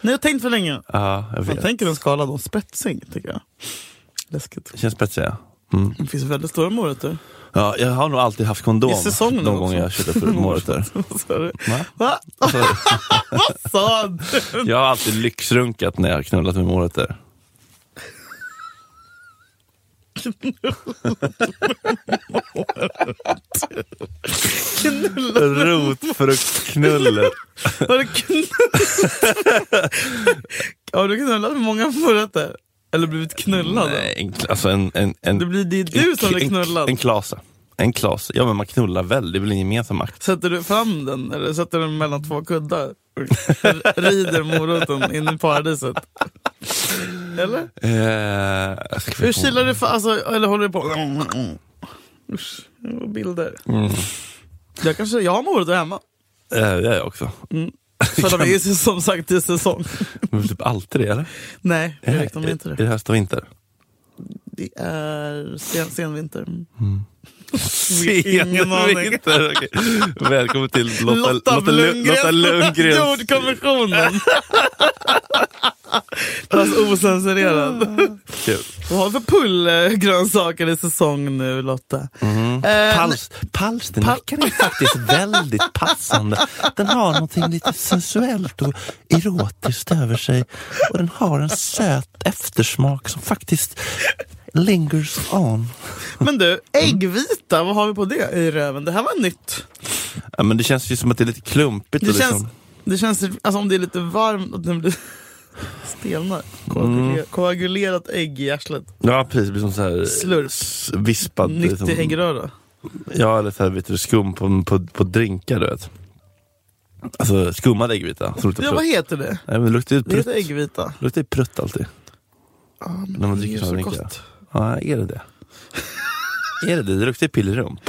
C: Nej, jag har tänkt för länge.
B: Ja, jag
C: Man
B: vet.
C: tänker den skalad och spetsig, tycker jag. Läskigt.
B: Känns spetsig ja. Mm.
C: Det finns väldigt stora morötter. [LAUGHS]
B: ja. Jag har nog alltid haft kondom.
C: I säsongen
B: Någon
C: också.
B: gång jag
C: [LAUGHS]
B: körde för morötter. Alltså,
C: Vad sa du?
B: Va?
C: Va? Vad sa du?
B: Jag har alltid lyxrunkat när jag har knullat med morötter. Rotfruktknullet.
C: Har du knullat? [LAUGHS] har du knullat med många morötter? Eller blivit knullad?
B: Nej, en, kla- alltså en, en, en,
C: Det blir det är du som
B: en-
C: blir knullad.
B: En, en klase. En klase. Ja men man knullar väl, det är väl en gemensam akt.
C: Sätter du fram den eller sätter den mellan två kuddar? Rider moroten in i paradiset? Eller?
B: Eh, jag ska
C: Hur
B: försöka-
C: kilar du fa- alltså, eller håller du på? Usch, det var bilder.
B: Mm.
C: Jag kanske, jag har morötter hemma.
B: Eh, det är jag också.
C: För de är ju som sagt i säsong. Mm.
B: Men typ alltid det eller?
C: Nej, Erik, de
B: är,
C: är inte
B: är
C: det.
B: det höst och vinter?
C: Det är sen, senvinter.
B: Mm.
C: [LAUGHS] Ingen aning.
B: Senvinter! okej. Välkommen till Lotta,
C: Lotta,
B: Lotta, Lu- Lotta
C: Lundgren.
B: Lundgrens
C: Jordkommissionen. [LAUGHS] Fast ocensurerad.
B: Kul.
C: Vad har vi för pullgrönsaker i säsong nu Lotta?
B: Mhm.
C: Eh,
B: Pals, palsternackan är faktiskt väldigt passande. Den har någonting lite sensuellt och erotiskt över sig. Och den har en söt eftersmak som faktiskt lingers on.
C: Men du, äggvita, vad har vi på det i röven? Det här var nytt.
B: Ja, men det känns ju som att det är lite klumpigt.
C: Det
B: och
C: känns,
B: liksom,
C: det känns alltså, om det är lite varmt att den blir [LAUGHS] stelnar.
B: Mm.
C: Koaguler- Koagulerat ägg i arslet.
B: ja, precis. Det blir som så här
C: Slurp.
B: s- vispad.
C: Nytt i
B: liksom,
C: äggröra.
B: ja, eller så här, vet du, skum på, på, på drinkar, du vet. Alltså skummad äggvita. Som luktar
C: Ja, vad
B: prutt.
C: heter det?
B: Nej, men det luktar ju
C: Det
B: prutt.
C: heter äggvita.
B: Det luktar ju prutt alltid.
C: Ah, men
B: När man
C: det är
B: dricker
C: ju
B: såna
C: så
B: drinkar.
C: gott.
B: Ja, är det det? är det det? Det luktar ju pillerump.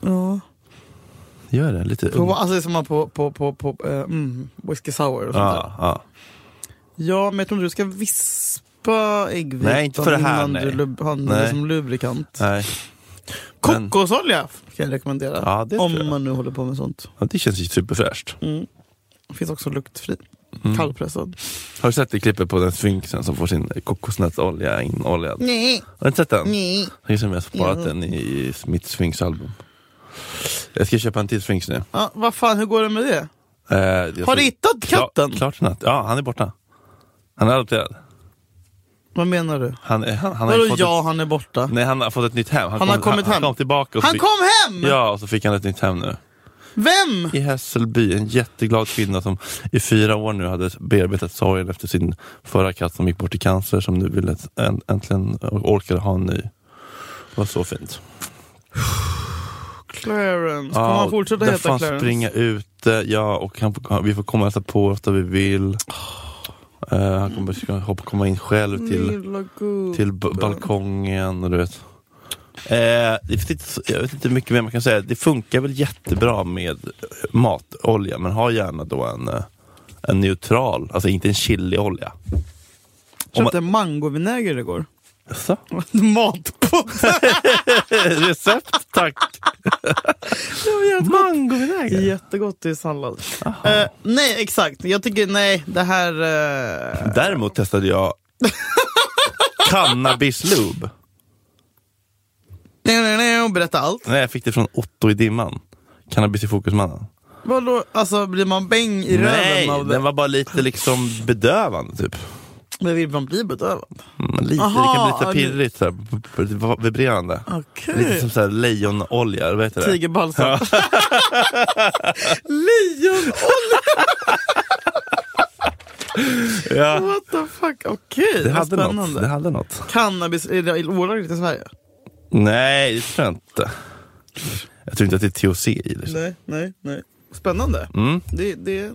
C: Ja.
B: Gör det? Lite
C: På,
B: ung.
C: alltså det är som man på, på, på, på eh, mm, whisky sour och sånt där.
B: Ja, ja.
C: Ja, men jag tror inte du ska vispa äggvitan
B: Nej, inte för det här,
C: innan
B: nej.
C: du lub- använder
B: Nej.
C: som lubrikant.
B: Nej. Men-
C: Kokosolja kan jag rekommendera.
B: Ja, det tror
C: om
B: jag.
C: man nu håller på med sånt.
B: Ja, det känns ju superfräscht.
C: Mm. Finns också luktfri.
B: Mm.
C: Kallpressad.
B: Har du sett det klippet på den sfinksen som får sin kokosnötsolja inoljad?
C: Nej,
B: Har du inte sett den?
C: nej.
B: Det är som jag har sparat
C: Ja.
B: den i mitt sfinksalbum. Jag ska köpa en till sfinks nu. Eh,
C: Ja, vad fan, hur går det med det?
B: jag
C: Har
B: ska-
C: du hittat katten?
B: Kla, klart natt. Ja, han är borta. Han är adopterad.
C: Vad menar du?
B: Han, är- han, han, har ju
C: Vadå
B: fått
C: ja,
B: ett,
C: han är borta?
B: nej, han har fått ett nytt hem.
C: Han har kommit
B: han,
C: hem.
B: Han kom tillbaka. Och så
C: Han
B: fick,
C: kom hem!
B: Ja, och så fick han ett nytt hem nu.
C: Vem?
B: i Hässelby. En jätteglad kvinna som i fyra år nu hade bearbetat sorgen efter sin förra katt som gick bort i cancer som nu ville änt- äntligen orkade ha en ny. Det var så fint.
C: Clarence. Kommer
B: Ja,
C: han fortsätta
B: där
C: heta
B: får han
C: Clarence?
B: springa ute, ja, och han får, vi får komma och hälsa på oss där vi vill. Eh, han kommer ska hoppa, komma in själv till,
C: Lilla gubben.
B: till b- balkongen och du vet. Eh, det finns inte, så- jag vet inte mycket mer man kan säga. Det funkar väl jättebra med eh, matolja, men ha gärna då en, eh, en neutral, alltså inte en chiliolja.
C: Jag köpte mangovinäger igår.
B: [LAUGHS]
C: [LAUGHS]
B: Jaså?
C: Matpodd.
B: Recept [LAUGHS] tack! Mangovinäger?
C: [LAUGHS] Jättegott i sallad. Eh, nej, exakt. Jag tycker nej, det här... eh, [LAUGHS]
B: Däremot testade jag cannabislube.
C: nej, nej, nej, berätta allt.
B: Nej, jag fick det från Otto i Dimman. Cannabis i fokusmannen.
C: Vadå, alltså blir man bäng i
B: Nej,
C: röven av det?
B: den var bara lite liksom bedövande typ.
C: Men vill man bli bedövad?
B: Mm, lite,
C: Aha,
B: det kan bli
C: ja,
B: lite pirrigt, så här, b- b- b- vibrerande.
C: Okej.
B: Lite som så här lejonolja, eller vad heter det?
C: Tigerbalsam. [LAUGHS] Lejon!
B: Ja.
C: What the fuck? Okej,
B: Det,
C: Oh, vad
B: hade något.
C: spännande.
B: det hade något.
C: Cannabis, är det olagligt i Sverige?
B: Nej, det tror jag inte. Jag tror inte att det är THC i. Liksom.
C: Nej, nej, nej. Spännande.
B: Mm.
C: Det, det, ja,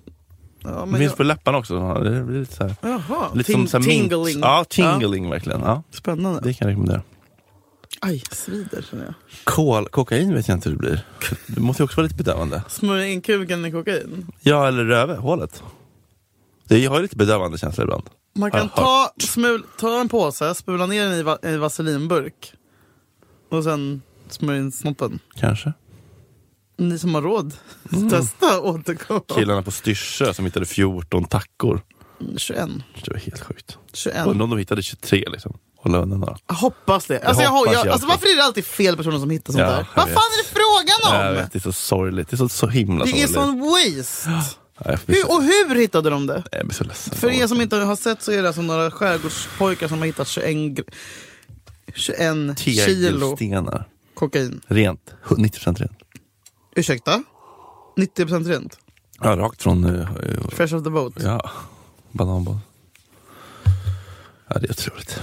B: Det
C: men
B: finns
C: jag,
B: på läpparna också. Det blir lite så här,
C: jaha,
B: lite
C: ting,
B: som så här mint.
C: tingling.
B: Ja, tingling verkligen. Ja,
C: Ja, spännande.
B: det kan jag rekommendera.
C: Aj, svider känner jag.
B: Kol, kokain vet jag inte hur det blir. Det måste ju också vara lite bedövande.
C: Smörja in kuken i kokain.
B: Ja, eller rövhålet. Det har ju lite bedövande känsla ibland.
C: Man kan
B: Aha.
C: ta, smul, ta en påse, spula ner den i, va, i vaselinburk och sen smörja in snoppen.
B: Kanske.
C: Ni som har råd,
B: Mm.
C: testa och återkom.
B: Killarna på Styrsö som hittade 14 tackor.
C: 21.
B: Det var helt sjukt.
C: 21.
B: Undrar om de hittade 23 liksom. Hålla undan några.
C: Jag hoppas det. Alltså, jag
B: hoppas
C: har, jag,
B: jag
C: alltså,
B: också.
C: varför är det alltid fel personer som hittar sånt
B: Ja,
C: där?
B: jag
C: Vad fan
B: vet.
C: är det frågan
B: Jag
C: om?
B: vet, det är så sorgligt. Det är så, så himla
C: det är
B: sorgligt.
C: sån waste.
B: Ja, jag blir
C: Hur,
B: så,
C: och hur hittade de det?
B: jag blir så ledsen.
C: För er som inte har sett så är det alltså några skärgårdspojkar som har hittat 21, gr- 21 kilo
B: Tegelstenar.
C: kokain.
B: Rent. 90% rent.
C: Ursäkta? 90% rent?
B: Ja, rakt från... eh, eh,
C: Fresh off the boat?
B: ja, bananbåt. Ja, det är otroligt.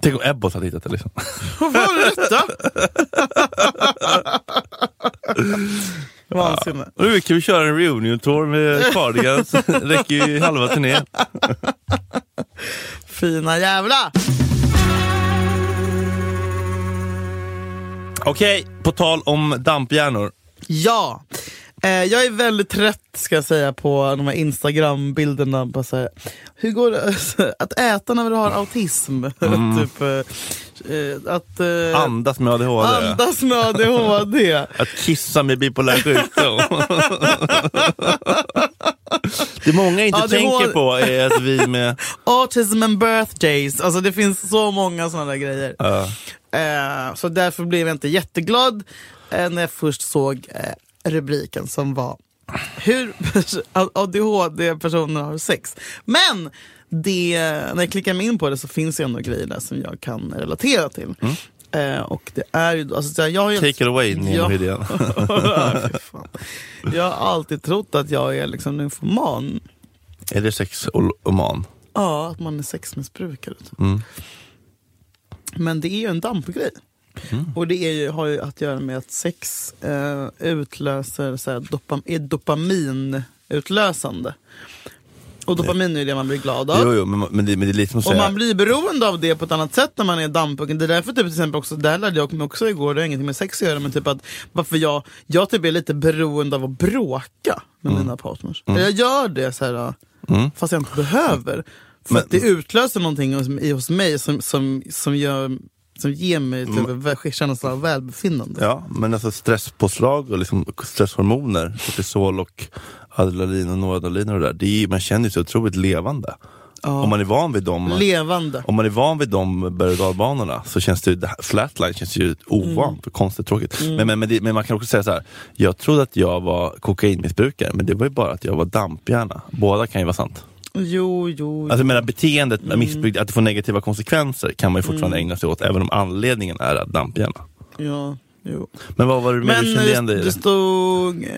B: Tänk om Ebbot hade hittat det [LAUGHS] liksom.
C: Vad var det
B: [LAUGHS]
C: detta? Vansinne.
B: Nu kan vi köra en reunion-tour [LAUGHS] med Cardigans. Räcker ju halva turnén.
C: Fina jävla!
B: Okej, på tal om dampjärnor.
C: Ja, eh, jag är väldigt trött ska jag säga på de här Instagram-bilderna. Bara så här, hur går det [LAUGHS] att äta när du har autism? [LAUGHS] typ, eh, eh, att eh,
B: Mm. Andas med ADHD.
C: andas med ADHD.
B: Att kissa med bipolär sjukdom. det många inte
C: Ja, det
B: tänker
C: må-
B: på är att vi med...
C: [LAUGHS] Autism and birthdays. Alltså det finns så många sådana där grejer. Eh, så därför blev jag inte jätteglad eh, när jag först såg eh, rubriken som var hur Alltså, ADHD-personer har sex. Men det, när jag klickar mig in på det så finns det ändå grejer där som jag kan relatera till. Eh, och det är ju, alltså, så här, jag har ju
B: Mm. Take it away, Nino
C: Ja. [LAUGHS]
B: Hedén.
C: Fy fan. Jag har alltid trott att jag är liksom nymfoman.
B: Är det sexoman?
C: Ja, att man är sexmissbrukare. Typ.
B: Mm.
C: Men det är ju en dampgrej. Och det är ju, har ju att göra med att sex eh, utlöser, så här, dopam, är dopaminutlösande. Och dopamin är ju det man blir glad av.
B: Jo, jo, men, men, det, men det är lite som att
C: Och man
B: säga...
C: blir beroende av det på ett annat sätt när man är dampungen. Det är därför typ till exempel också, det här lärde jag mig också igår, det har ingenting med sex att göra, men typ att varför jag, jag typ är lite beroende av att bråka med
B: Mm.
C: mina partners. Jag gör det så här, fast jag inte behöver. För
B: Men-
C: att det utlöser någonting hos, i, hos mig som, som, som, gör, som ger mig typ en vä- känsla av välbefinnande.
B: Mm. Ja, men alltså stresspåslag och liksom stresshormoner, kortisol och adrenalin och noradrenalin och det där. Det är, ju- man känner ju sig otroligt levande. Om man är van vid dem.
C: Levande.
B: Om man är van vid de berg och dalbanorna så känns det ju, det här- flatline känns ju
C: Mm.
B: ovant och konstigt tråkigt. Men, men, men, det, men man kan också säga så här. jag trodde att jag var kokainmissbrukare men det var ju bara att jag var dampjärna. Båda kan ju vara sant.
C: Jo, jo.
B: Alltså jag menar, beteendet
C: Mm.
B: med missbruk, att det får negativa konsekvenser kan man ju fortfarande ägna sig åt även om anledningen är att dampjärna.
C: ja, jo.
B: Men vad var det mer
C: Men eh,
B: du kände igen dig
C: det,
B: i?
C: det
B: det?
C: stod eh,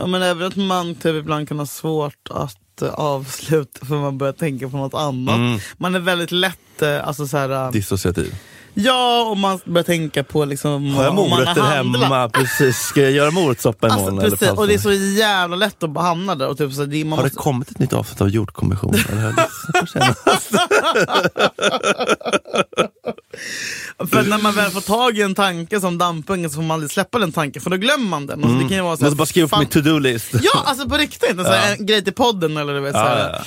C: ja, men även att man typ ibland kan ha svårt att eh, avsluta för man börjar tänka på något annat.
B: Mm.
C: Man är väldigt lätt, eh, alltså så här, eh,
B: Dissociativ.
C: ja och man börjar tänka på liksom
B: Har jag
C: om man
B: morötter hemma? [LAUGHS] Precis. Ska jag göra morotssoppa imorgon?
C: Alltså,
B: eller
C: precis,
B: vad
C: och det är
B: fan?
C: så jävla lätt att bara hamna där. Och typ, så här, det, man
B: Har det
C: måste,
B: kommit ett nytt avsnitt av Jordkommissionen? Eller
C: [LAUGHS]
B: har jag lyssnat på senast?
C: för att när man väl får tag i en tanke som dampungen så får man aldrig släppa den tanken för då glömmer man den. Alltså, det kan ju vara så här,
B: Mm. Måste bara skriva upp
C: fan-
B: min to-do-list.
C: [LAUGHS] Ja, alltså på riktigt. En, sån här, en grej till podden eller du vet. så, här.
B: Ja,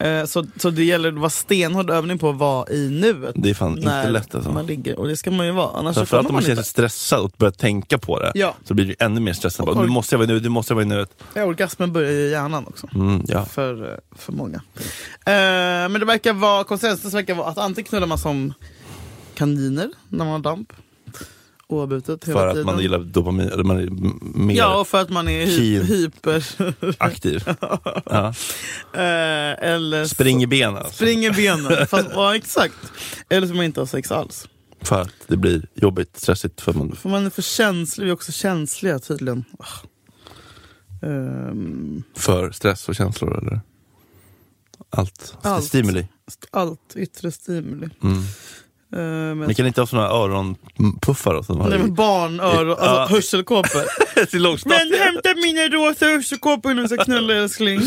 C: Eh, så, så det gäller att vara stenhård övning på att vara i nuet.
B: Det är fan inte
C: när
B: lätt, alltså.
C: man ligger. Och det ska man ju vara. Annars så kommer
B: Framförallt
C: Alltså, man,
B: om man känner
C: inte.
B: sig stressad och börjar tänka på det.
C: Ja.
B: Så blir det ju ännu mer stressad. Bara,
C: Och-
B: Nu måste jag vara i nuet, nu måste jag vara i nuet.
C: Ja, orgasmen börjar ju i hjärnan också.
B: Mm, ja.
C: För, eh, för många. Eh, men det verkar vara, konsensus verkar vara att antingen knullar man som kaniner när man har damp. oavbrutet hela
B: För att
C: tiden.
B: man gillar dopamin, eller man är m- mer
C: Ja, och för att man är hy-
B: Keen.
C: hyper.
B: [LAUGHS]
C: [LAUGHS]
B: aktiv. Ja.
C: Eh, eller så-
B: Spring i benen. Alltså,
C: springer benen. Fast, ja, exakt. Eller så man inte har sex alls.
B: för att det blir jobbigt, stressigt. För man,
C: För man är för känslig, vi är också känsliga tydligen. Ah. Ehm,
B: för stress och känslor eller? Allt.
C: Allt.
B: Stimuli.
C: st- allt yttre stimuli.
B: Mm.
C: Eh, men-
B: Men kan ni inte ha såna öronpuffar då? Som har
C: Nej men barn, öron, alltså
B: Ja. [LAUGHS]
C: hörselkåpor.
B: till lågstadiet.
C: Men hämta mina rosa hörselkåpor innan jag ska knulla
B: [LAUGHS]
C: älskling.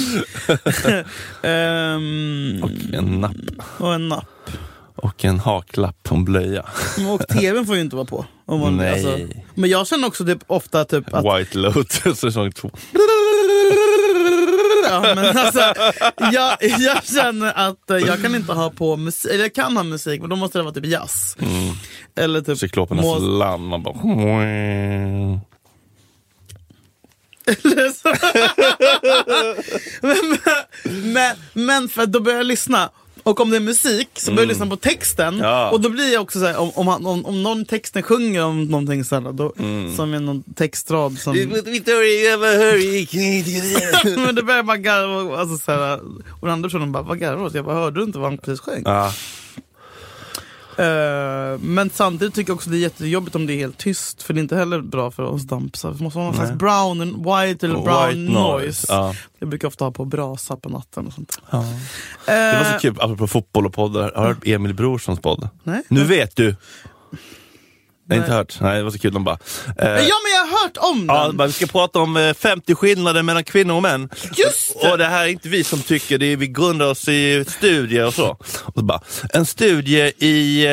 C: Ehm,
B: Och en napp.
C: och en napp.
B: Och en haklapp på en blöja.
C: Och tvn får ju inte vara på. Om man,
B: Nej.
C: alltså, men jag känner också typ, ofta typ att...
B: White Lotus [LAUGHS] säsong två.
C: Ja, men alltså, jag, jag känner att eh, jag kan inte ha på musik, eller jag kan ha musik men då måste det vara typ jazz. Eller typ
B: Mm. Cyklopernas
C: Mozart.
B: land. Man bara...
C: Så- [LAUGHS] men, men, men för att då börjar jag lyssna. Och om det är musik så börjar jag lyssna på texten.
B: Mm. Ja.
C: Och då blir jag också så här, om, om, han- om, om någon i texten sjunger om någonting så här, då,
B: Mm.
C: som är någon textrad som...
B: Victoria, ever hurry.
C: [LAUGHS] men då börjar jag bara garva. och- Alltså, så här, och den andra personen bara, vad garvar du åt? Jag bara, hörde du inte vad han precis sjöng?
B: [LAUGHS] Ja,
C: Eh, men samtidigt tycker jag också det är jättejobbigt om det är helt tyst. För det är inte heller bra för oss dampisar. Vi måste ha någon slags
B: Nej.
C: brown and white eller brown
B: White
C: noise.
B: noise, ja.
C: Jag brukar ofta ha på brasa på natten och sånt.
B: ja. Det var så kul, apropå fotboll och poddar. Har du hört Emil Brorssons podd?
C: Nej.
B: Nu vet du! Nej,
C: Nej.
B: inte hört. Nej, det var så kul. De bara... Eh,
C: Eh, Ja men jag har hört om
B: Ja,
C: den!
B: men vi ska prata om eh, 50 skillnader mellan kvinnor och män.
C: Just det!
B: Och det här är inte vi som tycker, det är, vi grundar oss i studier och så. Och så bara, en studie i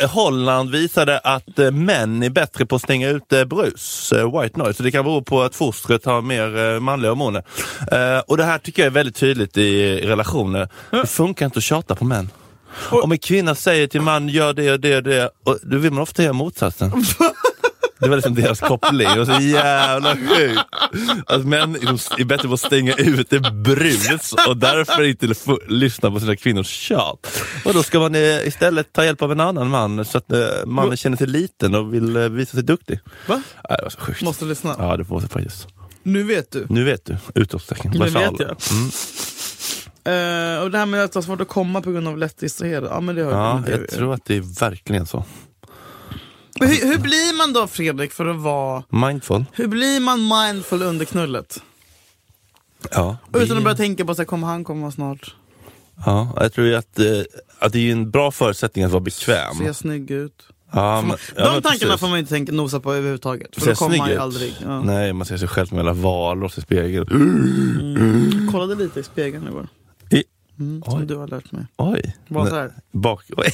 B: eh, Holland visade att eh, män är bättre på att stänga ut eh, brus, eh, white noise. Så det kan bero på att fostret har mer eh, manliga hormoner. Eh, och det här tycker jag är väldigt tydligt i, i relationer. Det funkar inte att tjata på män. Om en kvinna säger till man gör det och det och det, och då vill man ofta göra motsatsen. Det var liksom deras koppling. Det var så jävla sjukt. Att män är bättre på att stänga ut det brus och därför inte f- lyssna på sina kvinnors tjat. Och då ska man eh, istället ta hjälp av en annan man så att eh, mannen känner sig liten och vill eh, visa sig duktig.
C: Va?
B: Nej, det var så sjukt.
C: Måste lyssna.
B: Ja, det var faktiskt.
C: Nu vet du.
B: Nu vet du. Utropstecken. Mm.
C: Nu vet
B: Versal.
C: jag. Eh, och det här med att det är svårt att komma på grund av lätt distraherad. Ja men det har
B: Ja,
C: det-
B: jag tror att det är verkligen så.
C: Men hur, hur blir man då Fredrik för att vara...
B: Mindful.
C: Hur blir man mindful under knullet?
B: Ja,
C: Utan att börja tänka på så här, kommer han komma snart?
B: ja, jag tror ju att, eh, att det är ju en bra förutsättning att vara bekväm.
C: Ser jag snygg ut?
B: Ja,
C: Får
B: men-
C: man,
B: ja,
C: de
B: men
C: tankarna
B: precis.
C: får man inte tänka, nosa på överhuvudtaget. För
B: Ser
C: då
B: jag
C: kommer
B: snygg
C: man ju
B: ut?
C: aldrig. Ja.
B: Nej, man ser sig själv med alla valross i spegeln.
C: Jag kollade lite i spegeln igår.
B: I-
C: Mm, som
B: Oj.
C: du har lärt mig.
B: Oj!
C: Bara så
B: Nej,
C: här.
B: Bak... [LAUGHS] Oj.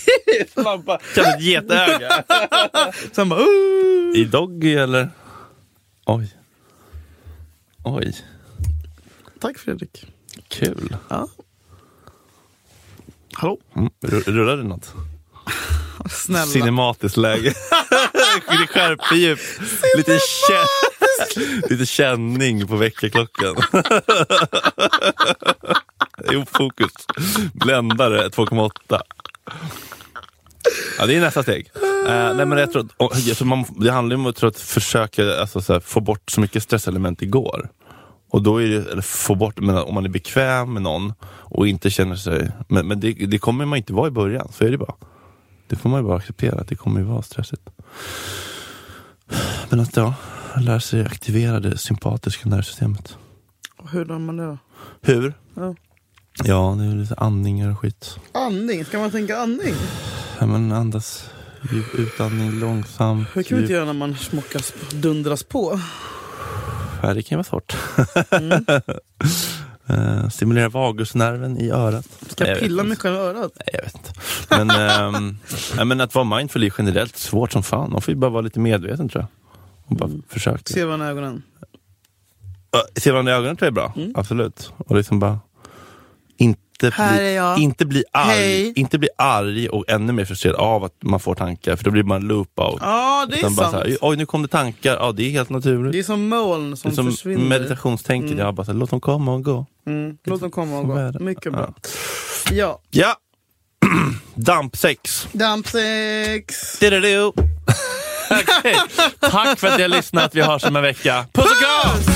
B: Lampa. Kan ett getöga?
C: Sen bara...
B: [LAUGHS]
C: "Ooh."
B: I Doggy eller? Oj. Oj,
C: Tack Fredrik.
B: kul.
C: Ja. Hallå?
B: Mm. ru- Rullar det något?
C: Snälla.
B: Cinematiskt läge. det skärper djup. Lite, kän... Lite känning på väckarklockan. [LAUGHS] jo, fokus. Bländare 2,8. Ja, det är nästa steg. Eh, nej, men jag tror, att- och, jag tror man, det handlar ju om att, tror att försöka alltså, så här, få bort så mycket stresselement det går. Och då är det, eller få bort, men om man är bekväm med någon och inte känner sig, men, men det, det kommer man inte vara i början, så är det bara. Det får man ju bara acceptera, att det kommer ju vara stressigt. Men att ja, lära sig aktivera det sympatiska nervsystemet.
C: Hur gör man det då?
B: Hur?
C: Ja.
B: Ja, det är lite andningar och skit.
C: Andning, ska man tänka andning?
B: Ja, men andas djup utandning långsamt.
C: Hur kan man inte
B: djup-
C: göra när man smockas, dundras på?
B: Ja, det kan ju vara svårt. [LAUGHS] Eh, Stimulera vagusnerven i örat.
C: Ska
B: Nej,
C: jag
B: vet
C: pilla
B: inte.
C: mig själv i örat?
B: Nej, jag vet inte. Men, ehm, [LAUGHS] ja, men att vara mindful är generellt svårt som fan. Man får ju bara vara lite medveten tror jag. Och
C: Mm.
B: bara försöka.
C: Se varandra i ögonen.
B: Ja, Se varandra Äh, i ögonen tror jag är bra.
C: Mm.
B: Absolut. Och liksom bara inte
C: Här är
B: bli,
C: jag.
B: inte bli
C: Hej.
B: arg. Inte bli arg och ännu mer frustrerad av att man får tankar. För då blir man loop out.
C: Ja, det är
B: Utan bara så
C: sant.
B: här, Oj, nu kom det tankar. Ja, det är helt naturligt.
C: Det är som moln
B: Det
C: som,
B: är som
C: försvinner.
B: meditationstänket. Jag bara så här, låt dem komma och gå.
C: Mm. Låt dem komma och
B: Vad är
C: gå.
B: det?
C: Mycket bra. Ja,
B: Ja! [CLEARS THROAT] Dampsex.
C: dampsex.
B: [LAUGHS] Diddidoo. Tack för att ni har lyssnat. Vi hörs om en vecka. Puss och kram!